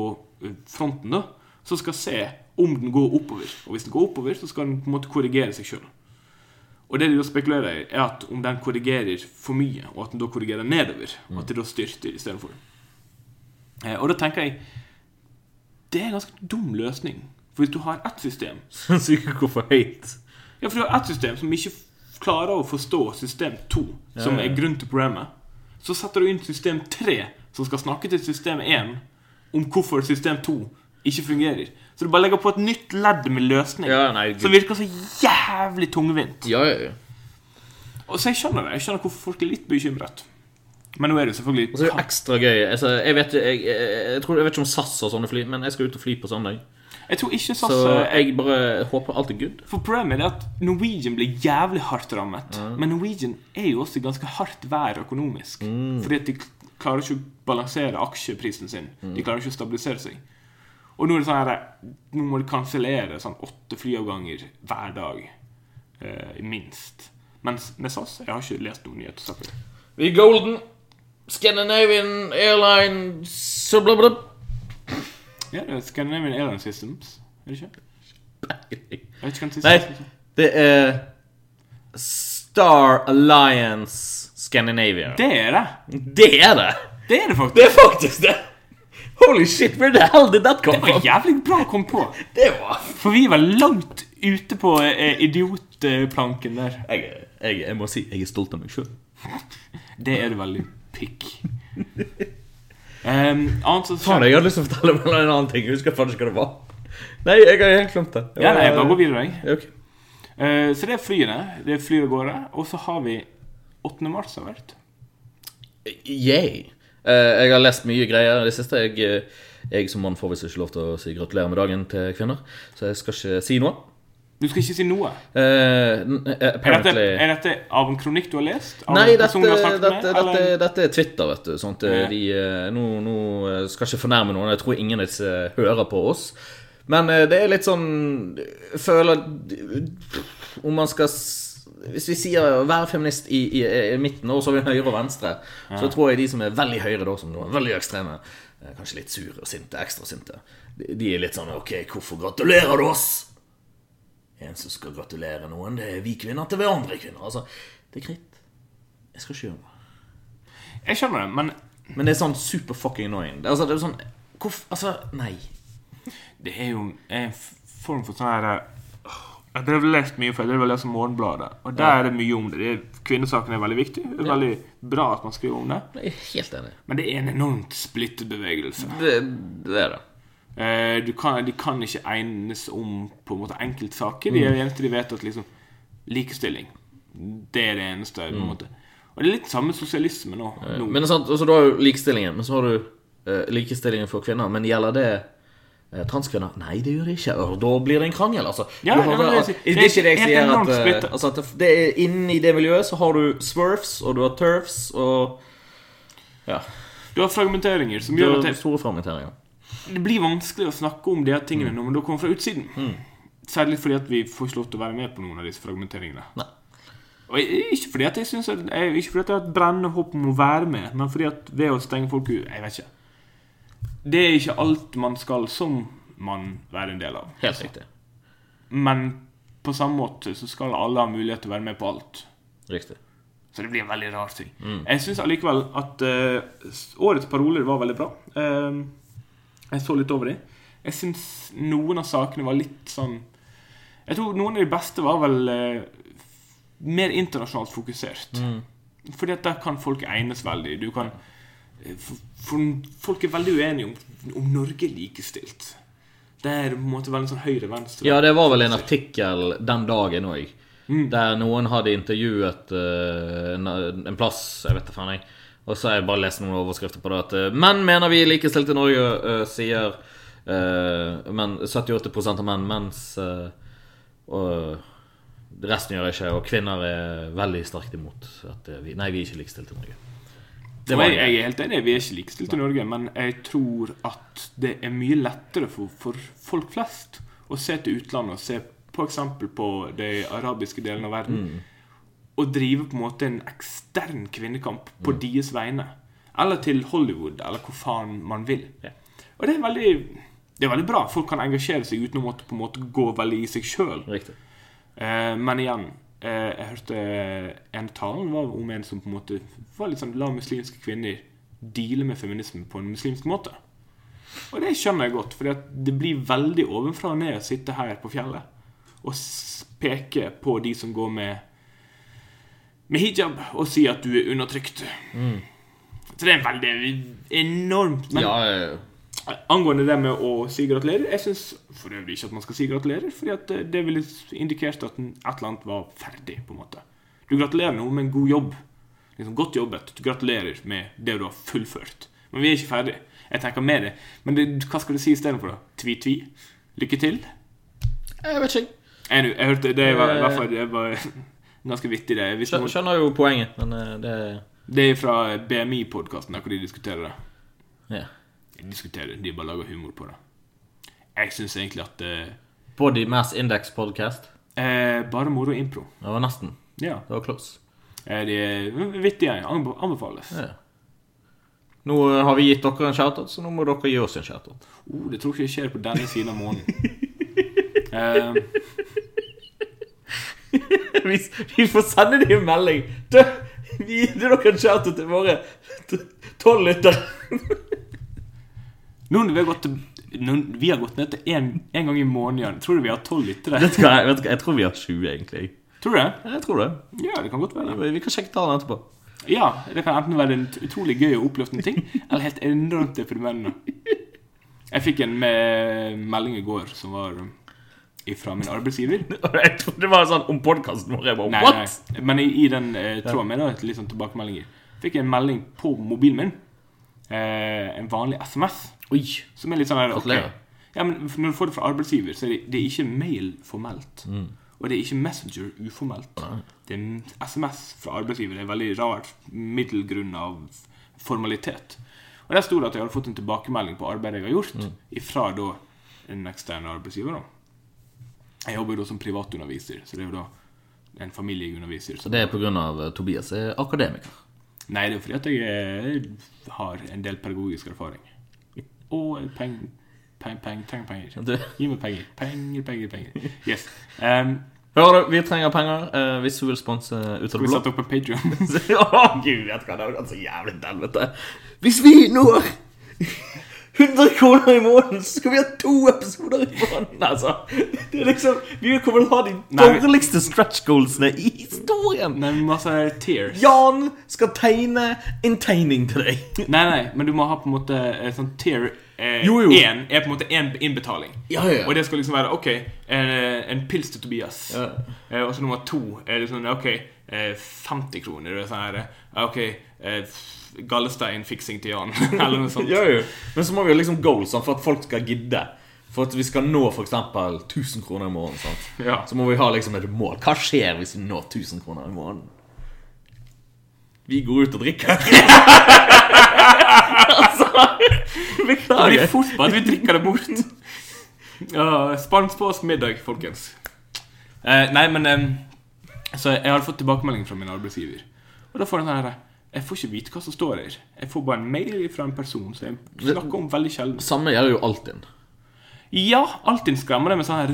B: eh, fronten da, som skal se om den går oppover. Og hvis den går oppover, så skal den på en måte korrigere seg sjøl. Og det de da spekulerer i, er at om den korrigerer for mye, og at den da korrigerer nedover, og at det da styrter istedenfor. Eh, og da tenker jeg det er en ganske dum løsning. For hvis du har ett system
A: Syns ikke hvorfor høyt.
B: Ja, for du har ett system som ikke f- klarer å forstå system 2, som
A: ja, ja.
B: er grunn til programmet. Så setter du inn system 3, som skal snakke til system 1 om hvorfor system 2 ikke fungerer. Så du bare legger på et nytt ledd med løsning
A: Ja, nei, gud.
B: som virker så jævlig tungvint.
A: Ja, ja, ja.
B: Og så jeg skjønner det. Jeg skjønner hvorfor folk er litt bekymret. Men nå er det jo selvfølgelig
A: Og så er det jo ekstra gøy. Altså, jeg, vet, jeg, jeg, jeg, tror, jeg vet ikke om SAS har sånne fly, men jeg skal ut og fly på søndag.
B: Jeg tror ikke
A: Så
B: SAS eh,
A: jeg bare håper alt er good.
B: For problemet er at Norwegian blir
A: Mm.
B: jævlig hardt rammet. Men Norwegian er jo også i ganske hardt vær økonomisk. Fordi at de, klarer ikke å balansere aksjeprisen sin.
A: Mm.
B: De klarer ikke å stabilisere seg. Og nå er det sånn her Nå må de kansellere sånn åtte flyavganger hver dag. Eh, minst. Mens med SAS Jeg har ikke lest noen nyhetssaker.
A: Vi er Golden. Scandinavian Airline så bla, bla.
B: Ja, det er Scandinavian Airline Systems. Er det ikke? Jeg vet ikke hva
A: Nei,
B: systems er.
A: det er Star Alliance Scandinavia.
B: Det er det!
A: Det er det!
B: Det er det faktisk!
A: Det er faktisk det! Holy shit, where the hell did that come
B: Det var
A: from?
B: jævlig bra å komme på!
A: Det var
B: For vi var langt ute på eh, idiotplanken der.
A: jeg, jeg, jeg må si jeg er stolt av meg sjøl.
B: Det er det veldig pikk. Um, annet som
A: Faen,
B: skjer
A: jeg hadde lyst til å fortelle meg en annen ting. Jeg husker faen ikke hva det var. Nei, jeg har helt glemt det. Det
B: Ja,
A: var-
B: nei, jeg bare gå videre, jeg.
A: Ja, ok.
B: Eh, så det er flyene. Det er fly av gårde. Og så har vi 8. mars har vært.
A: Yay. Eh, jeg har lest mye greier i det siste. Jeg, eh, jeg som mann får visst ikke lov til å si gratulerer med dagen til kvinner, så jeg skal ikke si noe.
B: Du skal ikke si noe.
A: Eh, n- eh,
B: Er dette,
A: apparently
B: er dette av en kronikk du har lest? Av
A: Nei,
B: en
A: dette,
B: person du har snakket med,
A: dette,
B: eller-
A: dette, dette er Twitter, vet du. Sånt, eh,
B: Ja.
A: de, eh, nå, nå eh, skal jeg ikke fornærme noen. Jeg tror ingen av disse hører på oss. Men eh, det er litt sånn jeg Føler Om man skal s- Hvis vi sier 'vær feminist' i, i, i midten, og så har vi høyre og venstre, så tror jeg de som er veldig høyre, da, som nå er veldig ekstreme, eh, kanskje litt sure og sinte, ekstra sinte, de de er litt sånn 'OK, hvorfor gratulerer du oss?' En som skal gratulere noen, det er vi kvinner til hverandre kvinner. Altså, det er greit. Jeg skal ikke gjøre noe.
B: Jeg skjønner det, men
A: Men det er sånn super fucking annoying. Altså, det er sånn Hvorfor Altså, nei.
B: det er jo en f- form for sånn her eh, Jeg drev og lest mye før. Jeg drev og leste Morgenbladet. Og der er det mye om det. det er, kvinnesaken er veldig viktig. Det er veldig bra at man skriver om det.
A: Jeg er helt enig.
B: Men det er en enormt splittet bevegelse.
A: Det, det er det.
B: Eh, du kan, de kan ikke egnes om på en måte enkeltsaker. De er det eneste de vet at liksom Likestilling. Det er det eneste. på en måte Og det er litt samme sosialisme nå. nå.
A: Men det er sant, altså, du har jo likestillingen, men så har du eh, likestillingen for kvinner. Men gjelder det eh, transkvinner? Nei, det gjør det ikke. Og da blir det en krangel, altså.
B: Ja,
A: Du
B: ja, men det er-
A: det er ikke det jeg
B: helt
A: sier
B: enormt
A: at, eh,
B: splittet.
A: altså, at det- det er Inni det miljøet så har du swerfs, og du har turfs, og Ja.
B: Du har fragmenteringer som
A: Du
B: gjør
A: har
B: at det,
A: store fragmenteringer.
B: det blir vanskelig å snakke om de her tingene når man da kommer fra utsiden. Særlig fordi at vi får ikke lov til å være med på noen av disse fragmenteringene.
A: Nei.
B: Og jeg- ikke fordi at jeg synes at, jeg, Ikke fordi at jeg har et brennende håp om å være med, men fordi at ved å stenge folk ut Jeg vet ikke. Det er ikke alt man skal som mann være en del av.
A: Helt riktig.
B: Men på samme måte så skal alle ha mulighet til å være med på alt.
A: Riktig.
B: Så det blir en veldig rar ting. Jeg syns allikevel at eh, s- årets paroler var veldig bra. Eh, jeg så litt over dem. Jeg syns noen av sakene var litt sånn Jeg tror noen av de beste var vel eh, mer internasjonalt fokusert. Fordi at der kan folk egnes veldig. Du kan eh, for, for, Folk er veldig uenige om, om Norge er likestilt. Det er på en måte veldig sånn høyre-venstre.
A: Ja, det var vel en artikkel den dagen òg. Der noen hadde intervjuet eh, en, en plass, jeg vet da faen jeg. Og så har jeg bare lest noen overskrifter på det at eh, menn mener vi er likestilte i Norge, eh, sier eh, men 78 av menn, mens eh, og resten gjør ikke, og kvinner er veldig sterkt imot at eh, vi Nei, vi er ikke likestilte i Norge. Det
B: Og
A: var
B: jeg, jeg er helt enig, vi er ikke likestilt i Norge, men jeg tror at det er mye lettere for, for folk flest å se til utlandet og se f.eks. på de arabiske delene av verden
A: Mm.
B: og drive på en måte en ekstern kvinnekamp på
A: Mm.
B: deres vegne. Eller til Hollywood, eller hvor faen man vil.
A: Ja.
B: Og det er veldig det er veldig bra. Folk kan engasjere seg uten å måtte på en måte gå veldig i seg sjøl.
A: Riktig.
B: Eh, men igjen, eh, jeg hørte en talen var om en som på en måte var litt sånn La muslimske kvinner deale med feminisme på en muslimsk måte. Og det skjønner jeg godt, for det blir veldig ovenfra og ned å sitte her på fjellet og s- peke på de som går med med hijab, og si at du er undertrykt. Så det er en veldig enormt men-
A: Ja, eh, ja, ja.
B: Angående det med å si gratulerer Jeg syns for øvrig ikke at man skal si gratulerer, fordi at eh, det ville indikert at en- et eller annet var ferdig, på en måte. Du gratulerer noen med en god jobb. Liksom Godt jobbet. Du gratulerer med det du har fullført. Men vi er ikke ferdig. Jeg tenker med det. Men det, hva skal du si istedenfor, da? Tvi-tvi? Lykke til?
A: jeg vet ikke.
B: Jeg, nu- jeg hørte Det var i hvert fall det var ganske vittig, det. Hvis
A: Skjø-
B: noen,
A: Skjønner jo poenget, men eh, det
B: Det er fra BMI-podkasten, hvor de diskuterer det.
A: Ja.
B: De diskuterer det, de bare lager humor på det. Jeg syns egentlig at eh,
A: Body Mass Index Podcast.
B: eh, Bare moro impro.
A: Det var nesten.
B: Ja.
A: Det var close.
B: Eh, de er vittige. Anbe- Anbefales.
A: Ja. Nå eh, har vi gitt dere en shoutout, så nå må dere gi oss en shoutout.
B: Oh, det tror jeg ikke skjer på denne siden av måneden. Eh,
A: vi, vi får sende dem en melding. Du, vi gir dere en shoutout til våre t- tolv lyttere.
B: nå når vi har gått, til- nå- vi har gått ned til én gang i måneden igjen, tror du vi har tolv lyttere?
A: Vet du hva, jeg, vet du hva, jeg tror vi har 20, egentlig.
B: Tror du det?
A: Jeg tror det.
B: Ja, det kan godt være.
A: Vi kan sjekke tallene etterpå.
B: Ja, Det kan enten være en ut- utrolig gøy og oppløftende ting, eller helt enormt deprimerende. Jeg fikk en me- melding i går som var fra min arbeidsgiver.
A: Jeg trodde det var sånn om podkasten vår. Jeg bare,
B: Nei,
A: what?
B: nei. Men i, i den eh, tråden med da, et litt sånn tilbakemeldinger, fikk jeg en melding på mobilen min. Eh, en vanlig SMS.
A: Oi.
B: Som er litt sånn her, ok.
A: Gratulerer.
B: ja, men for Når du får det fra arbeidsgiver, så er det, det er ikke mail formelt. Og det er ikke Messenger uformelt. Det er en SMS fra arbeidsgiver. Det er en veldig rar middelgrunn av formalitet. Og Der sto det at jeg hadde fått en tilbakemelding på arbeidet jeg har gjort, ifra da en ekstern arbeidsgiver. da. Jeg jobber jo da som privatunderviser, så det er jo da en familieunderviser.
A: Så det er pga. eh, Tobias er akademiker.
B: Nei, det er fordi at jeg eh, har en del pedagogisk erfaring. Og penger. Peng, peng, trenger penger.
A: Du.
B: Gi meg penger. Penger, penger, penger. Yes. Um,
A: Hører du, vi trenger penger eh, hvis du vil sponse Ut av
B: vi
A: det blå.
B: satte opp en Patreon
A: Å, gud, vet du hva, det har gått så jævlig til helvete. Hvis vi når 100 kroner i måneden, så skal vi ha to episoder i måneden, altså. Det er liksom, vi kommer til å ha de
B: Nei, vi-
A: dårligste stretch goalsene i historien.
B: Nei, masse tears.
A: Jan skal tegne en tegning til deg.
B: Nei, nei, men du må ha på en måte eh, sånn tier eh,
A: Jo, jo.
B: Én er på en måte én innbetaling.
A: Ja, ja, ja.
B: Og det skal liksom være OK, en, en pils til Tobias.
A: Ja.
B: Eh, og så nummer to er det sånn OK, eh, 50 kroner. Det er sånn her eh, OK, eh, f- gallesteinfiksing til Jan. Eller noe sånt.
A: Ja, jo. Men så må vi jo liksom goals sant, for at folk skal gidde. For at vi skal nå f.eks. 1000 kroner i måneden. Sant?
B: Ja.
A: Så må vi ha liksom et mål. Hva skjer hvis vi når 1000 kroner i måneden? Vi går ut og drikker. altså
B: Det blir
A: Beklager.
B: fort bare at vi drikker det bort. Ja, Spans på oss middag, folkens. Eh, nei, men eh, Så jeg har fått tilbakemelding fra min arbeidsgiver. Og da får jeg den her Jeg får ikke vite hva som står her. Jeg får bare en mail fra en person som jeg snakker om veldig sjelden.
A: Samme gjelder jo Altinn.
B: Ja, alltid skremmer det med sånn her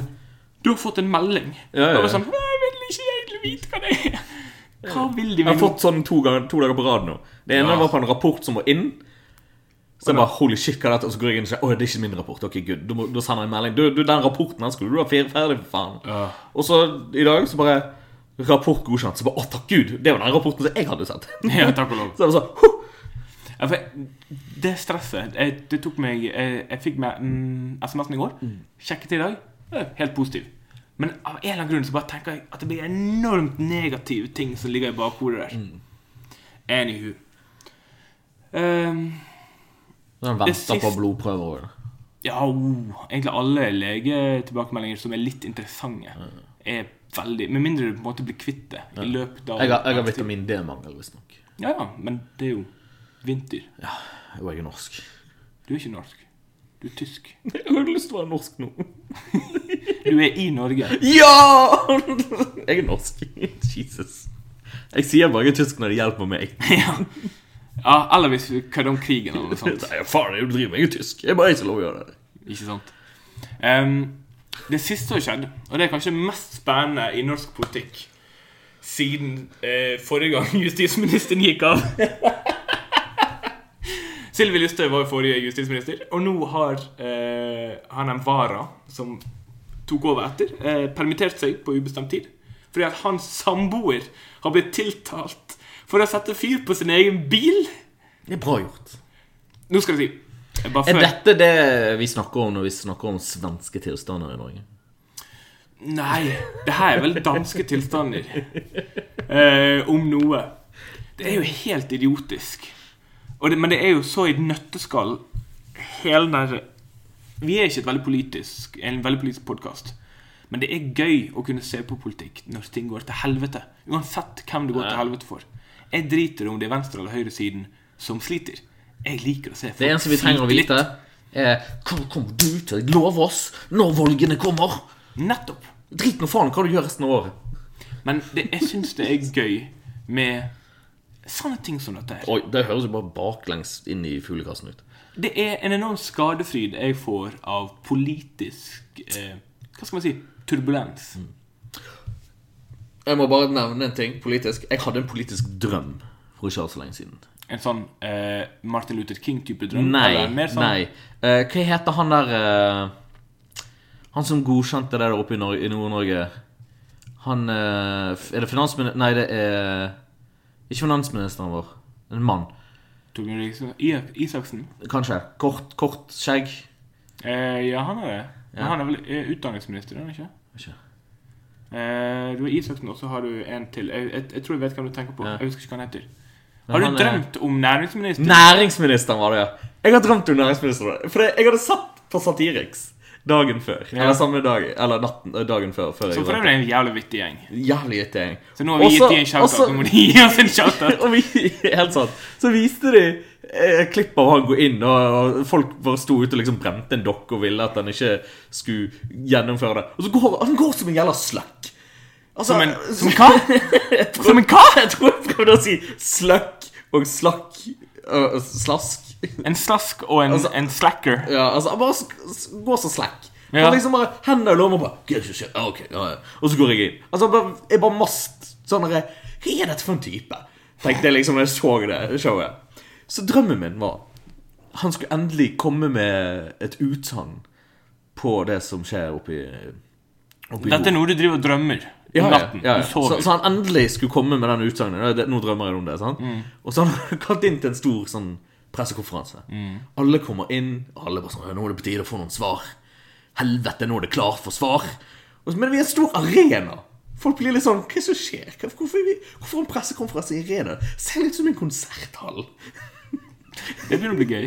B: Du har fått en melding.
A: Ja, ja, ja.
B: Og jeg var sånn «Nei, Jeg vil ikke egentlig vite hva det er. Hva vil de
A: Jeg har
B: med
A: fått sånn to, ganger, to dager på rad nå. Det ene
B: Ja.
A: var på en rapport som må inn. Så jeg bare, holy shit, hva er dette? Og så går jeg inn og sier åh, det er ikke min rapport. Ok, good. Da må- Da sender jeg en melding. Du, du den rapporten her skulle du ha fer- ferdig, for faen.
B: Ja.
A: Og så i dag så bare Rapport godkjent. Så bare å, takk Gud! Det var den rapporten som jeg hadde sett.
B: Ja, takk og lov.
A: Så jeg var sånn huh!
B: Ja, for jeg- det stresset jeg, Det tok meg Jeg, jeg fikk meg mm, SMS-en i går. Sjekket i dag. eh, Helt positiv. Men av en eller annen grunn så bare tenker jeg at det blir enormt negative ting som ligger i bakhodet der.
A: Mm.
B: Anywho. Ehm,
A: Den
B: Det
A: venter
B: siste-
A: på blodprøver.
B: ja, oh, egentlig alle legetilbakemeldinger som er litt interessante, er veldig Med mindre du på en måte blir kvitt det i løpet av
A: Jeg har, jeg har vitamin D-mangel, visstnok.
B: Ja, ja, men det er jo vinter.
A: Og jeg er norsk.
B: Du er ikke norsk. Du er tysk.
A: Jeg har lyst til å være norsk nå.
B: Du er i Norge.
A: Ja! Jeg er norsk. Jesus. Jeg sier bare jeg er tysk når det hjelper meg.
B: Ja. ja, eller hvis vi kødder om krigen eller noe sånt.
A: Nei, faen, jeg driver meg, jeg er tysk. Jeg er bare ikke lov å gjøre det.
B: Ikke sant? Ehm, det siste som har skjedd, og det er kanskje mest spennende i norsk politikk siden eh, forrige gang justisministeren gikk av Sylvi Listhaug var jo forrige justisminister, og nå har eh, han en vara som tok over etter, eh, permittert seg på ubestemt tid fordi at hans samboer har blitt tiltalt for å sette fyr på sin egen bil.
A: Det er bra gjort.
B: Nå skal jeg si bare
A: Er
B: før.
A: dette det vi snakker om når vi snakker om svenske tilstander i Norge?
B: Nei, det her er vel danske tilstander. Eh, om noe. Det er jo helt idiotisk. Og det, men det er jo så i et nøtteskall hele den der Vi er ikke et veldig politisk, en veldig politisk podkast. Men det er gøy å kunne se på politikk når ting går til helvete. Uansett hvem det går til helvete for. Jeg driter om det er venstre- eller høyresiden som sliter. Jeg liker å se folk
A: Det eneste vi trenger å
B: slite
A: vite, er hva kommer du til å love oss når valgene kommer?
B: litt. Nettopp.
A: Drit nå faen hva du gjør resten av året.
B: Men det, jeg syns det er gøy med sånne ting som dette her.
A: Oi, Det høres jo bare baklengs inn i fuglekassen ut.
B: Det er en enorm skadefryd jeg får av politisk eh, Hva skal man si? Turbulens.
A: Mm. Jeg må bare nevne en ting politisk. Jeg hadde en politisk drøm for ikke alt så lenge siden.
B: En sånn eh, Martin Luther King-type drøm?
A: Nei.
B: eller mer sånn,
A: nei Eh, Hva heter han der eh, Han som godkjente det der oppe i, Nor i Nord-Norge? Han eh, f- Er det finansminister Nei, det er ikke finansministeren vår. En mann.
B: Torbjørn Riksen- I- Isaksen?
A: Kanskje. Kort, kort skjegg.
B: Eh, ja, han er det. Men han er vel eh, utdanningsminister, er han ikke?
A: Ikke.
B: Eh, du har Isaksen, og så har du en til. Jeg, jeg, jeg tror jeg vet hvem du tenker på.
A: Ja.
B: Jeg husker ikke hva han heter.
A: Men
B: Har du
A: han er-
B: drømt om næringsminister?
A: Næringsministeren var det, ja. Jeg har drømt om næringsministeren. For jeg hadde satt på Satiriks dagen før. Eller samme dag. Eller natten, eh, dagen før. før
B: Så
A: jeg
B: for øvrig er det en jævlig vittig gjeng.
A: Jævlig gitt gjeng.
B: Så nå har vi
A: Også-
B: gitt de en shout-out.
A: også-
B: Nå må de gi oss en shout-out.
A: og vi, helt sant. Så viste de eh, klipp av han gå inn, og, og folk bare sto ute og liksom brente en dokke og ville at han ikke skulle gjennomføre det. Og så går han går som en jævla sløkk. Altså,
B: Som en Som hva? Som en hva?
A: Jeg tror jeg prøvde å si sløkk og slakk og slask.
B: En slask og en,
A: Altså-
B: en slacker.
A: Ja, altså, han bare sk- s- går så slakk.
B: Ja.
A: Han liksom bare hender i lomma og bare «Gud, shit, shit, ok, ja, ja. Og så går jeg inn. Altså, jeg bare, jeg bare mast sånn derre Hva er dette for en type? Tenkte jeg liksom da jeg så det showet. Så drømmen min var Han skulle endelig komme med et utsagn på det som skjer oppi, oppi
B: Dette er noe du driver og drømmer
A: ja,
B: om
A: ja,
B: natten.
A: ja, ja.
B: Du sover.
A: Så, så han endelig skulle komme med den utsagnet. Det- Nå drømmer jeg om det. sant?
B: Mm.
A: Og så har han kalt inn til en stor sånn, pressekonferanse.
B: Mm.
A: Alle kommer inn, og alle bare sånn «Ja, 'Nå er det på tide å få noen svar'. Helvete, nå er det klart for svar. Og så, men vi er en stor arena. Folk blir litt sånn 'Hva er det som skjer? Hva- Hvorfor, er vi, hvorfor en pressekonferanse i arena? Ser litt ut som en konserthall'.
B: Det begynner å bli gøy.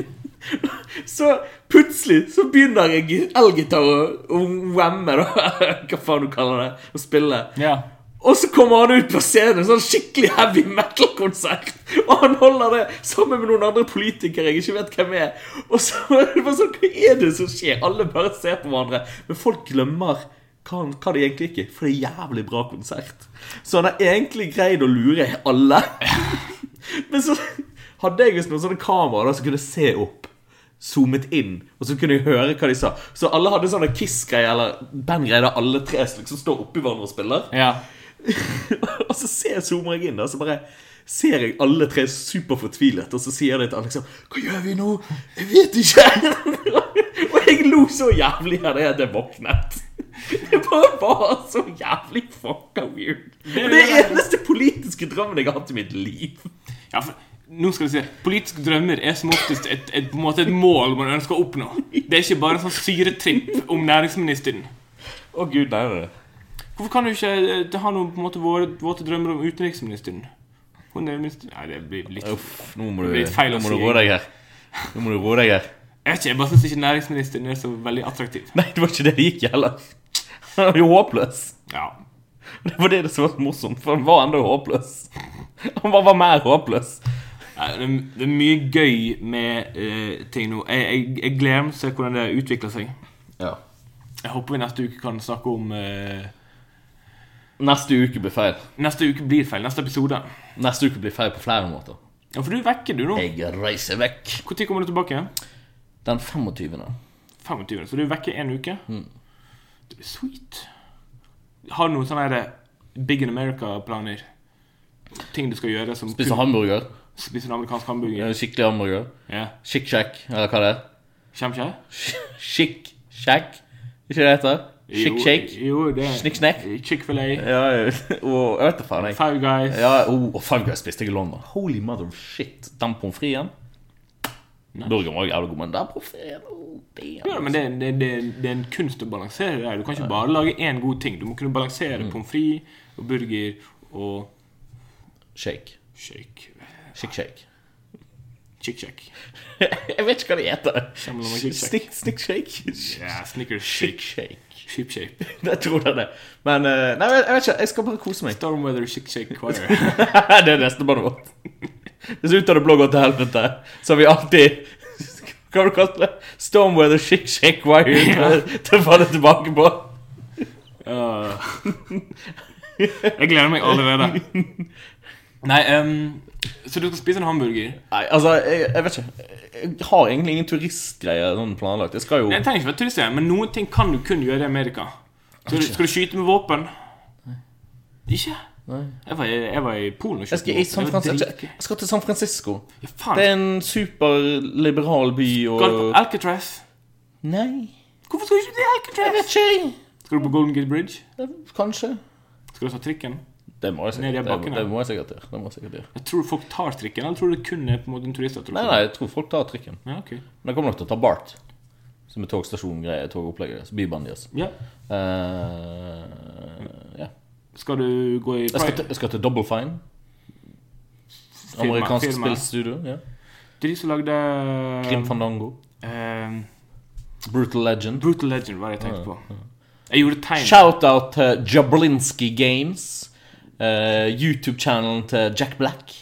A: Så plutselig så begynner jeg gi- elgitar og og whamme, da. Hva faen du kaller det. Å spille.
B: Ja.
A: Og så kommer han ut på scenen, sånn skikkelig heavy metal-konsert. Og han holder det sammen med noen andre politikere jeg ikke vet hvem er. Og så er det bare sånn, hva er det som skjer? Alle bare ser på hverandre. Men folk glemmer hva, han- hva det egentlig ikke er, for det er jævlig bra konsert. Så han har egentlig greid å lure alle. Men så hadde jeg visst noen sånne kameraer da, som kunne se opp. Zoomet inn, og så kunne jeg høre hva de sa. Så alle hadde sånne Kiss-greier eller band-greier der alle tre liksom står oppi hverandre og spiller.
B: ja.
A: og så ser jeg zoomer jeg inn, og så bare ser jeg alle tre superfortvilet, og så sier de til Alex sånn Hva gjør vi nå? Jeg vet ikke! og jeg lo så jævlig av det at jeg våknet. Det bare var så jævlig fucka weird. Det er den eneste politiske drømmen jeg har hatt i mitt liv.
B: ja for, nå skal du se. Politiske drømmer er som oftest et, et, på en måte et mål man ønsker å oppnå. Det er ikke bare en sånn syretripp om næringsministeren.
A: Å gud, nei, nei, nei.
B: Hvorfor kan du ikke eh, ha noen på en måte våre, våte drømmer om utenriksministeren? Hun er minst... Nei, det blir litt Jeg
A: Uff, nå må
B: Det
A: du,
B: blir litt feil å
A: nå må
B: si,
A: du roe deg her. Nå må du roe deg her.
B: vet ikke, jeg bare syns ikke næringsministeren er så veldig attraktiv.
A: Nei, det var ikke det det gikk i heller. Han var jo håpløs.
B: Ja.
A: Det var det som var så morsomt, for han var enda håpløs. Han bare var mer håpløs.
B: Nei, Det er- det er mye gøy med eh, ting nå. Jeg, jeg, jeg gleder meg til å se hvordan det utvikler seg.
A: Ja.
B: Jeg håper vi neste uke kan snakke om eh,
A: Neste uke blir feil.
B: Neste uke blir feil. Neste episode.
A: Neste uke blir feil på flere måter.
B: Ja, for du vekker, du, nå.
A: Jeg reiser vekk.
B: Når kommer du tilbake?
A: Den 25.
B: 25. Så du vekker én uke.
A: Mm.
B: Det blir sweet. Har du noen sånne her eh, Big in America-planer? Ting du skal gjøre som
A: Spiser hamburger.
B: Spise en amerikansk hamburger?
A: Eh, Skikkelig hamburger.
B: Ja.
A: Skikk-sjekk, eller hva det er.
B: Kjem ikke?
A: Skikk-sjekk. Ikke det det heter? Skikk-shake.
B: Jo, jo, det
A: Snikk-snakk.
B: Chick-fil-A.
A: Ja, ja. og jeg vet da faen, jeg.
B: Five Guys.
A: Ja, oh, og Five Guys spiste jeg i London. Holy mother of shit. Den pommes fritesen. Burgeren var jo jævlig god, men den pommes fritesen oh, damn.
B: Ja, men det, det, det, det er en kunst å balansere det her. Du kan ikke bare lage én god ting. Du må kunne balansere
A: Mm.
B: pommes frites og burger og
A: Shake.
B: shake.
A: Shake, shake.
B: Chick-shack.
A: jeg vet ikke hva det heter.
B: Sammen med shake, shake.
A: Snick, snick, shake.
B: Ja, Snickers
A: Shake,
B: shake.
A: shake.
B: Sheep shape.
A: Jeg tror det er det. Men eh, Nei, jeg vet ikke. Jeg skal bare kose meg.
B: Stormweather shake shake choir.
A: det er neste bandet vårt. Hvis ut av det blå går til helvete, så har vi alltid Hva var det kalt det? Storm weather shake shake wire til- til å falle tilbake på.
B: Øh. Jeg gleder meg allerede. Nei, ehm, så du skal spise en hamburger?
A: Nei, altså, jeg, jeg vet ikke. Jeg har egentlig ingen turistgreier sånn planlagt. Jeg skal jo
B: Nei, Det trenger ikke være turistgreier, men noen ting kan du kun gjøre i Amerika. Skal du, skal du skyte med våpen? Ikke? Jeg var, i- jeg var i Polen og
A: Jeg
B: skjøt
A: skal, i San Francisco. jeg skal til San Francisco. Det
B: Ja,
A: er
B: faen.
A: en superliberal by og
B: Skal du på Alcatraz?
A: Nei,
B: Hvorfor skal du ikke til
A: jeg
B: Alcatraz?
A: vet ikke. jeg.
B: Skal du på Golden Gate Bridge?
A: Det- Kanskje.
B: Skal du ta trikken?
A: Det må jeg
B: Ned i
A: sikkert, det,
B: bakken, ja.
A: det må jeg sikkert gjøre. Det må jeg sikkert gjøre.
B: Jeg tror folk tar trikken, eller tror du det kun er på en måte en turistattraksjon?
A: Nei, nei, jeg tror folk tar trikken.
B: Ja, ok.
A: Men jeg kommer nok til å ta BART. Som er togstasjongreier, togopplegget deres. Bybanen deres.
B: Ja.
A: Eh, ja.
B: Skal du gå i
A: jeg, skal til, jeg skal til Double Fine. Amerikansk
B: firma.
A: spillstudio. Ja.
B: Det er de som lagde
A: Grim Fandango.
B: eh,
A: Brutal Legend.
B: Brutal Legend var det jeg tenkte på. Jeg gjorde tegn.
A: Shout-out til Jablinski Games. eh, YouTube-channelen til Jack Black.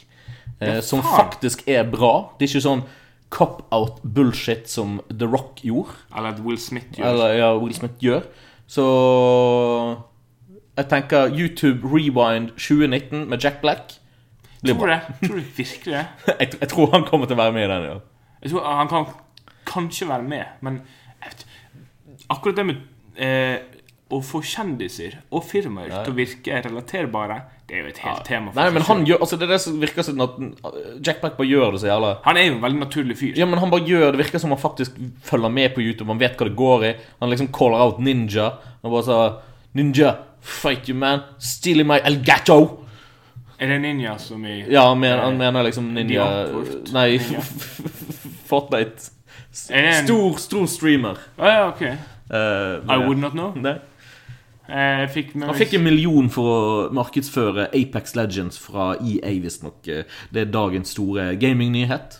A: eh, som
B: faen.
A: faktisk er bra. Det er ikke sånn cop-out-bullshit som The Rock gjorde.
B: Eller at Will Smith gjorde
A: Eller ja, Will Smith gjør. Så jeg tenker YouTube Rewind 2019 med Jack Black. Blir
B: Tror
A: bra.
B: det. Tror du virkelig det?
A: Jeg, tr- jeg tror han kommer til å være med i den. ja
B: Jeg tror han kan kanskje være med, men jeg vet, akkurat det med eh, å få kjendiser og firmaer til å virke relaterbare, det er jo et helt tema. for
A: Nei,
B: seg
A: men
B: selv.
A: han gjør Altså Det er det som virker som at uh, Jack Black bare gjør det så jævla
B: han er jo en veldig naturlig fyr.
A: Ja, men han bare gjør Det virker som han faktisk følger med på YouTube. Han vet hva det går i. Han liksom caller out ninja. Han bare sa Ninja, fight you man. Stealing my elgato.
B: Er det ninja som i
A: Ja, han mener, han mener liksom ninja
B: Outworld.
A: Nei,
B: Ninja.
A: Fortnite. S-
B: Er det en-
A: Stor, stor streamer.
B: Å ja, ok.
A: Eh,
B: I
A: men-
B: would not know.
A: Nei.
B: Eh, Jeg fikk med
A: Han fikk en million for å markedsføre Apex Legends fra EA, visstnok. Det er dagens store gamingnyhet.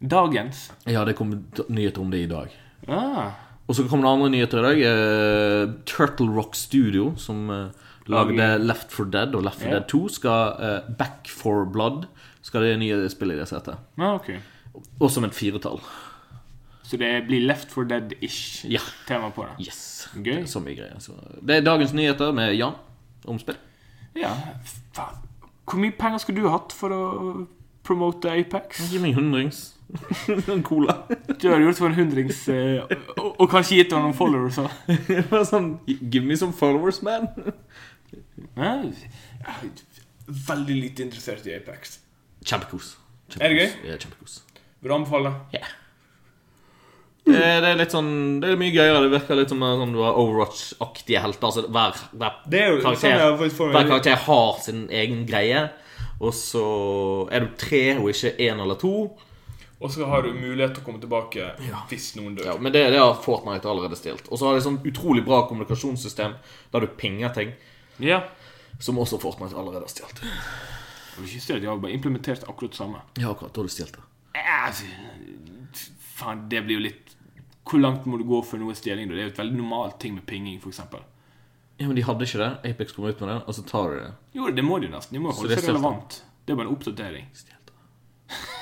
B: dagens.
A: Ja, det kom t- nyheter om det i dag.
B: Ah,
A: Og så kom det andre nyheter i dag. Eh, Turtle Rock Studio, som eh, lagde
B: Lager-
A: Left for Dead og Left for
B: Ja.
A: Dead 2, skal eh, Back for Blood skal det nye spillet deres hete.
B: ah, ok.
A: Og som et firetall.
B: Så det blir Left for Dead-ish
A: Ja.
B: tema på det.
A: Yes.
B: Gøy.
A: Så mye greier. Så det er dagens nyheter med Jan om spill.
B: Ja, faen. Hvor mye penger skulle du hatt for å promote Apex?
A: Gi meg en hundrings. en cola.
B: Du har gjort for en hundrings eh, og, og kanskje gitt deg noen followers òg.
A: Bare sånn Give me some followers, man.
B: Veldig lite interessert i Apex.
A: Kjempekos. Kjempekos.
B: Er det gøy?
A: Ja, kjempekos.
B: Vil du anbefale?
A: Yeah. Det er det er litt sånn Det er mye gøyere. Det virker litt som eh, sånn du har Overwatch-aktige helter. Altså hver, hver,
B: sånn
A: karakter, hver karakter har sin egen greie. Og så er du tre og ikke én eller to.
B: Og så har du mulighet til å komme tilbake hvis noen dør.
A: Ja, men det, det har Fortnite allerede stilt. Og så har de sånn utrolig bra kommunikasjonssystem der du pinger ting.
B: Ja.
A: Som også Fortnite allerede har stilt.
B: Jeg vil ikke si at jeg har bare implementert akkurat det samme.
A: Ja, akkurat. Da har du stilt det.
B: Eh, Faen, det blir jo litt Hvor langt må du gå for noe stjeling? da? Det er jo et veldig normal ting med pinging, f.eks.
A: Ja, men de hadde ikke det. Apex kom ut med det, og så tar de det.
B: Jo, det må de jo nesten. De må holde
A: det er
B: seg
A: stjelt.
B: relevant. Det er bare en oppdatering.
A: Stjelt.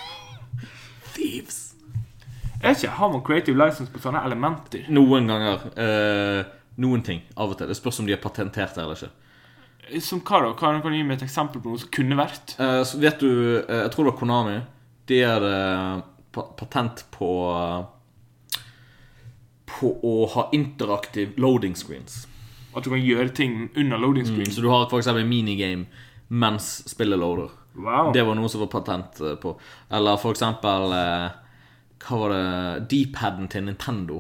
A: Thieves.
B: Er ikke, Har man creative license på sånne elementer?
A: Noen ganger. eh, noen ting. Av og til. Det spørs om de er patentert eller ikke.
B: Som hva da? Kan kan du gi meg et eksempel på noe som kunne vært?
A: Eh, så vet du eh, Jeg tror det var Konami. De hadde pa- patent på eh, På å ha interaktiv loading screens.
B: At du kan gjøre ting under loading screen?
A: Så du har f.eks. en minigame mens spillet loader.
B: Wow.
A: Mm. Det var noe som var patent eh, på. Eller for eksempel eh, Hva var det Deepaden til Nintendo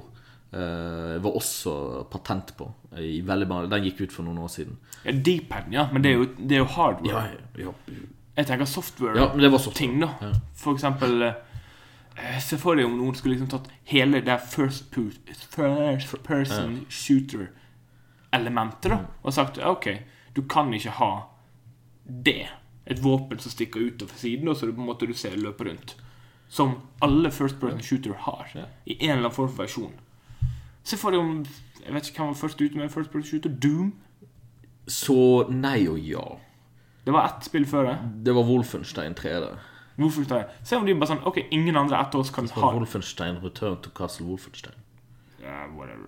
A: eh, var også patent på. eh, I veldig, mange- den gikk ut for noen år siden.
B: Ja, Deepen, ja. Men det er jo, det er jo hardware.
A: Ja, ja,
B: Jeg tenker software.
A: ja men det var så
B: ting, da. For eksempel eh, Se for deg om noen skulle liksom tatt hele det first, pu- first person shooter-elementet da, og sagt «Ja, OK, du kan ikke ha det. Et våpen som stikker ut over siden, og så du på en måte du ser løpe rundt. Som alle first person shooter har, i en eller annen form for versjon. Se for deg om Jeg vet ikke hvem var først ute med first person shooter. Doom.
A: Så nei og ja.
B: Det var ett spill før det.
A: Mm. Det var Wolfenstein 3D.
B: Hvorfor skal jeg? Se om de bare sånn Ok, ingen andre etter oss kan ha
A: Wolfenstein Return to Castle Wolfenstein.
B: Ja, Whatever.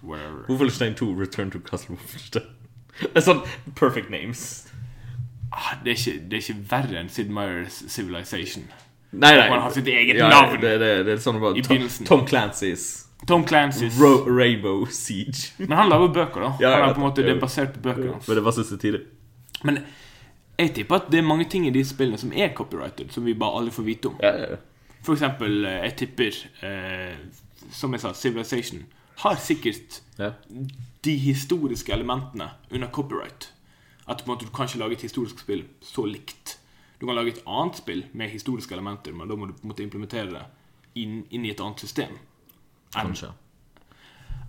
B: Whatever.
A: Wolfenstein 2 Return to Castle Wolfenstein. Det er sånn perfect names.
B: Ah, det, er ikke, det er ikke verre enn Sid Meyers Civilization.
A: Nei, nei.
B: Man har sitt eget
A: ja,
B: navn.
A: Det, det, det er sånn bare
B: I
A: Tom,
B: begynnelsen.
A: Tom Clancy's
B: Tom Clancy's
A: Ro Rainbow Siege.
B: Men han lager bøker, da.
A: Ja, jeg
B: han er
A: vet
B: på en måte,
A: det.
B: det er basert på bøkene hans.
A: Men det var siste tide.
B: Men jeg tipper at det er mange ting i de spillene som er copyrighted, som vi bare aldri får vite om.
A: Ja, ja, ja.
B: For eksempel, eh, jeg tipper, eh, som jeg sa, Civilization har sikkert
A: Ja.
B: de historiske elementene under copyright. At på en måte, du kan ikke lage et historisk spill så likt. Du kan lage et annet spill med historiske elementer, men da må du på en måte implementere det inn, inn i et annet system. Enn
A: Kanskje.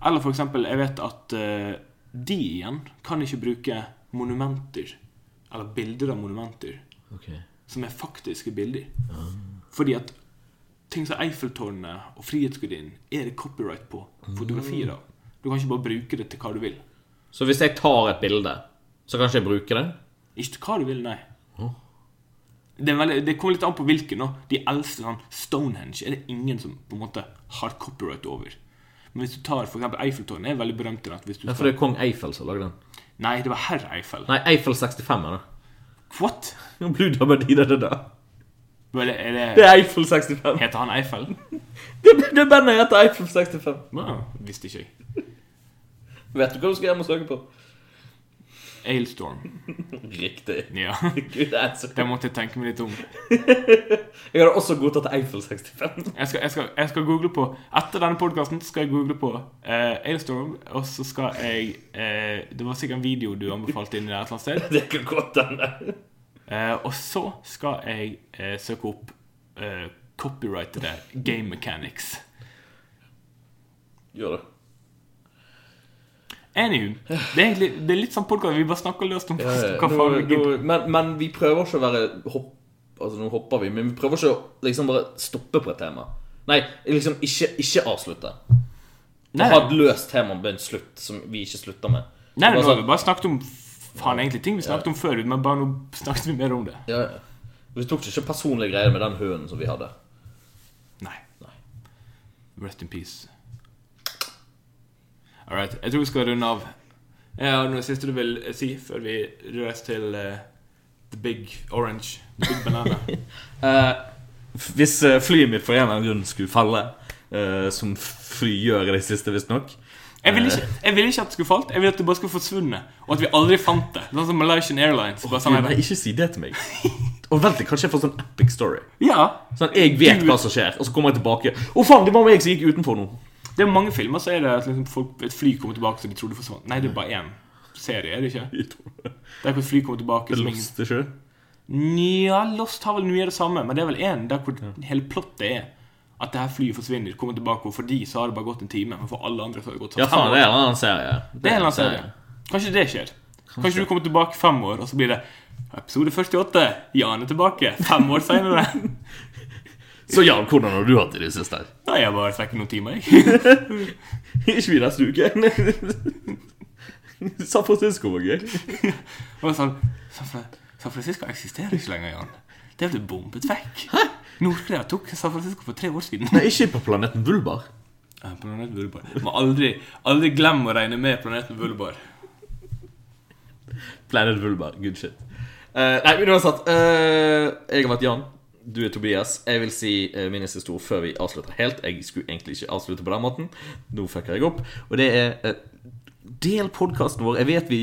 B: eller for eksempel, jeg vet at eh, de igjen kan ikke bruke monumenter, eller bilder av monumenter,
A: Ok.
B: som er faktiske bilder. Fordi at ting som Eiffeltårnet og Frihetsgudinnen er det copyright på fotografier av. Du kan ikke bare bruke det til hva du vil.
A: Så hvis jeg tar et bilde, så kan ikke jeg bruke det?
B: Ikke til hva du vil, nei.
A: Åh.
B: Det, er veldig, det kommer litt an på hvilken. nå. De eldste, sånn Stonehenge, er det ingen som på en måte har copyright over. Men hvis du tar for eksempel Eiffeltårnet, er veldig berømt i at hvis du
A: Ja, for
B: skal...
A: det er kong Eiffel som lagde den.
B: Nei, det var herr Eiffel.
A: Nei, Eiffel 65 er det.
B: What?
A: Ja, Blue Dabba Dee Da Da Da.
B: Vel, er det,
A: Det er Eiffel 65.
B: Heter han Eiffel?
A: Det, det bandet heter Eiffel 65.
B: Wow, visste ikke jeg.
A: Vet du hva du skal hjem og søke på?
B: Ailstorm.
A: Riktig.
B: Ja.
A: Good answer.
B: Det måtte jeg tenke meg litt om. Jeg
A: Jeg hadde også godtatt Eiffel 65.
B: skal, jeg skal, jeg skal google på Etter denne podkasten skal jeg google på eh, Ailstorm, og så skal jeg eh, Det var sikkert en video du anbefalte inni der et eller annet sted.
A: Det kan godt hende.
B: Eh, og så skal jeg eh, søke opp eh, copyrightede game mechanics.
A: Gjør det.
B: Anywho, det er, egentlig, det er litt sånn podkast vi bare snakker løst om hva
A: Eh, Nå,
B: faen vi
A: nå,
B: gidder.
A: men, men vi prøver ikke å være hopp, Altså, nå hopper vi, men vi prøver ikke å liksom bare stoppe på et tema. Nei, liksom ikke, ikke avslutte.
B: Nei,
A: Ha et løst tema med en slutt som vi ikke slutter med.
B: nei, nå
A: Bare
B: har
A: sånn-
B: vi bare snakket om faen egentlig ting vi snakket om før, men bare nå snakket vi mer om det.
A: Ja, ja. Vi tok ikke personlige greier med den hønen som vi hadde.
B: Nei. Rest in peace. All right. Jeg tror vi skal runde av. Jeg har noe siste du vil si før vi røres til eh, The Big Orange. The Big Banana.
A: Eh, hvis eh, flyet mitt for en eller annen grunn skulle falle, eh, som fly gjør i det siste, visstnok
B: Jeg ville ikke,
A: Eh.
B: jeg vil ikke at det skulle falt. Jeg ville at det bare skulle forsvunnet. Og at vi aldri fant det. Sånn som Malaysian Airlines. Bare sånn
A: Eh, Nei,
B: her,
A: ikke si det til meg. Og vent litt, kanskje jeg får sånn epic story.
B: ja.
A: Sånn, Jeg vet hva som skjer, og så kommer jeg tilbake. Å, faen, det var meg som gikk utenfor nå.
B: Det er mange filmer så er det at liksom folk, et fly kommer tilbake som de trodde forsvant. Nei, det er bare én serie, er det ikke? Der hvor et fly kommer tilbake som ingen
A: Lost, ikke?
B: Nja, Lost har vel mye av det samme, men det er vel én der hvor hele plottet er at det her flyet forsvinner, kommer tilbake, og for de så har det bare gått en time. Men for alle andre så har det gått sånn
A: Ja, faen,
B: fem
A: det
B: år.
A: er en annen serie.
B: Det er en eller annen serie. Kanskje det skjer. Kanskje du kommer tilbake fem år, og så blir det episode 48. Jan er tilbake fem år seinere.
A: Så Jan, hvordan har du hatt det i det siste?
B: Da har jeg bare snakket noen timer, jeg.
A: Ikke vi neste uke. San Francisco var gøy.
B: Og sånn San Fra- San Francisco eksisterer ikke lenger, Jan. Det ble bombet vekk. Nord-Korea tok San Francisco for tre år siden.
A: Nei, ikke på planeten Vulbar.
B: Ja, Planeten Vulbar. Må aldri, aldri glem å regne med planeten Vulbar.
A: Planet Vulbar, good shit. Eh, nei, men uansett. eh, jeg har vært Jan. Du er Tobias. Jeg vil si eh, min siste ord før vi avslutter helt. Jeg skulle egentlig ikke avslutte på den måten. Nå fucker jeg opp. Og det er eh, Del podkasten vår. Jeg vet vi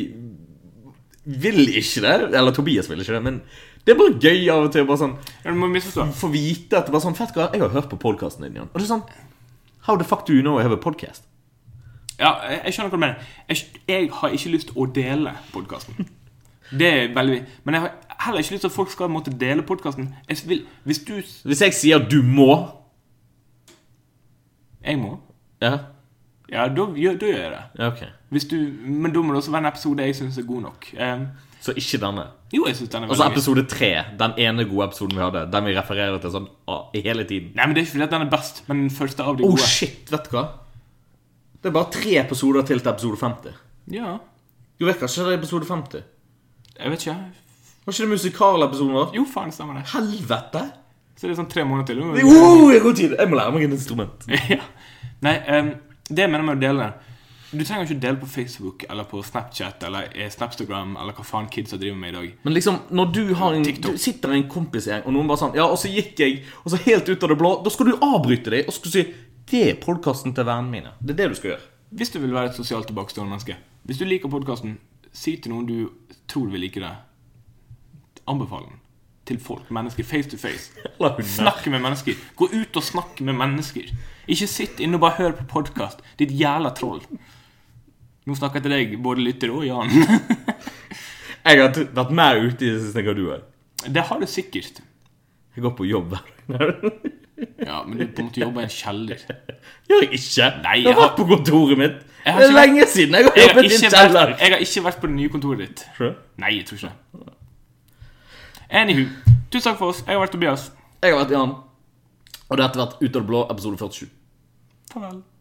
A: vil ikke det. Eller Tobias vil ikke det, men det er bare gøy av og til. Bare sånn
B: Ja, Du må misforstå.
A: få vite at det bare sånn Fett, hva? Jeg har hørt på podkasten din, Jan. Og det er sånn How the fuck do you know I have a podcast?
B: Ja, jeg, jeg skjønner hva du mener. Jeg, skj- jeg har ikke lyst å dele podkasten. Det er veldig Men jeg har heller ikke lyst til at folk skal måtte dele podkasten. Hvis du s-
A: Hvis jeg sier du må
B: Jeg må.
A: Ja,
B: Ja, da gjør, da gjør jeg det.
A: ja ok.
B: Hvis du, men da må det også være en episode jeg syns er god nok. Eh,
A: Så ikke denne.
B: jo, jeg syns den er
A: Altså
B: veldig god.
A: episode tre, den ene gode episoden vi hadde, den vi refererer til sånn ah, hele tiden.
B: Nei, men Det er ikke fordi at den er best, men den første av de
A: Oh
B: gode.
A: shit, vet du hva? Det er bare tre episoder til til episode 50.
B: Ja,
A: Jo, vet ikke, det er episode 50.
B: jeg vet ikke.
A: Var ikke det musikalepisoden vår?
B: Jo, faen, stemmer det.
A: Helvete!
B: Så det er sånn tre måneder til. nå må vi-
A: Jo, jeg går tid! Jeg må lære meg et instrument.
B: ja. Nei, em, det jeg mener med å dele Du trenger ikke å dele på Facebook eller på Snapchat eller eh, Snapstagram eller hva faen kidsa driver med i dag.
A: Men liksom, når du har en
B: TikTok.
A: Du sitter i en kompisgjeng, og noen bare sånn Ja, og så gikk jeg, og så helt ut av det blå Da skal du avbryte dem og skal si Det er podkasten til vennene mine. Det er det du skal gjøre.
B: Hvis du vil være et sosialt tilbakestående menneske, hvis du liker podkasten, si til noen du tror vil like det. Anbefal den til folk. Mennesker face to face.
A: Eller hunder.
B: Snakk med mennesker. Gå ut og snakk med mennesker. Ikke sitt inne og bare hør på podkast, ditt jævla troll. Nå snakker jeg til deg, både lytter og Jan.
A: Jeg har t- vært mer ute i det siste enn hva du er.
B: Det har du sikkert.
A: Jeg går på jobb hver dag.
B: Ja, men du på en måte jobber i en kjeller.
A: Gjør jeg ikke.
B: Nei,
A: jeg
B: jeg
A: har
B: har-
A: vært på kontoret mitt.
B: Jeg har
A: Det er
B: ikke vært-
A: lenge siden jeg har
B: Jeg har,
A: jobbet i
B: ikke
A: en
B: vært,
A: kjeller.
B: jeg har ikke vært på det nye kontoret ditt. Nei, jeg tror ikke det. Anywho, tusen takk for oss. Jeg har vært Tobias.
A: Jeg har vært Jan, og dette har vært Ut av det blå, episode 47.
B: Farvel.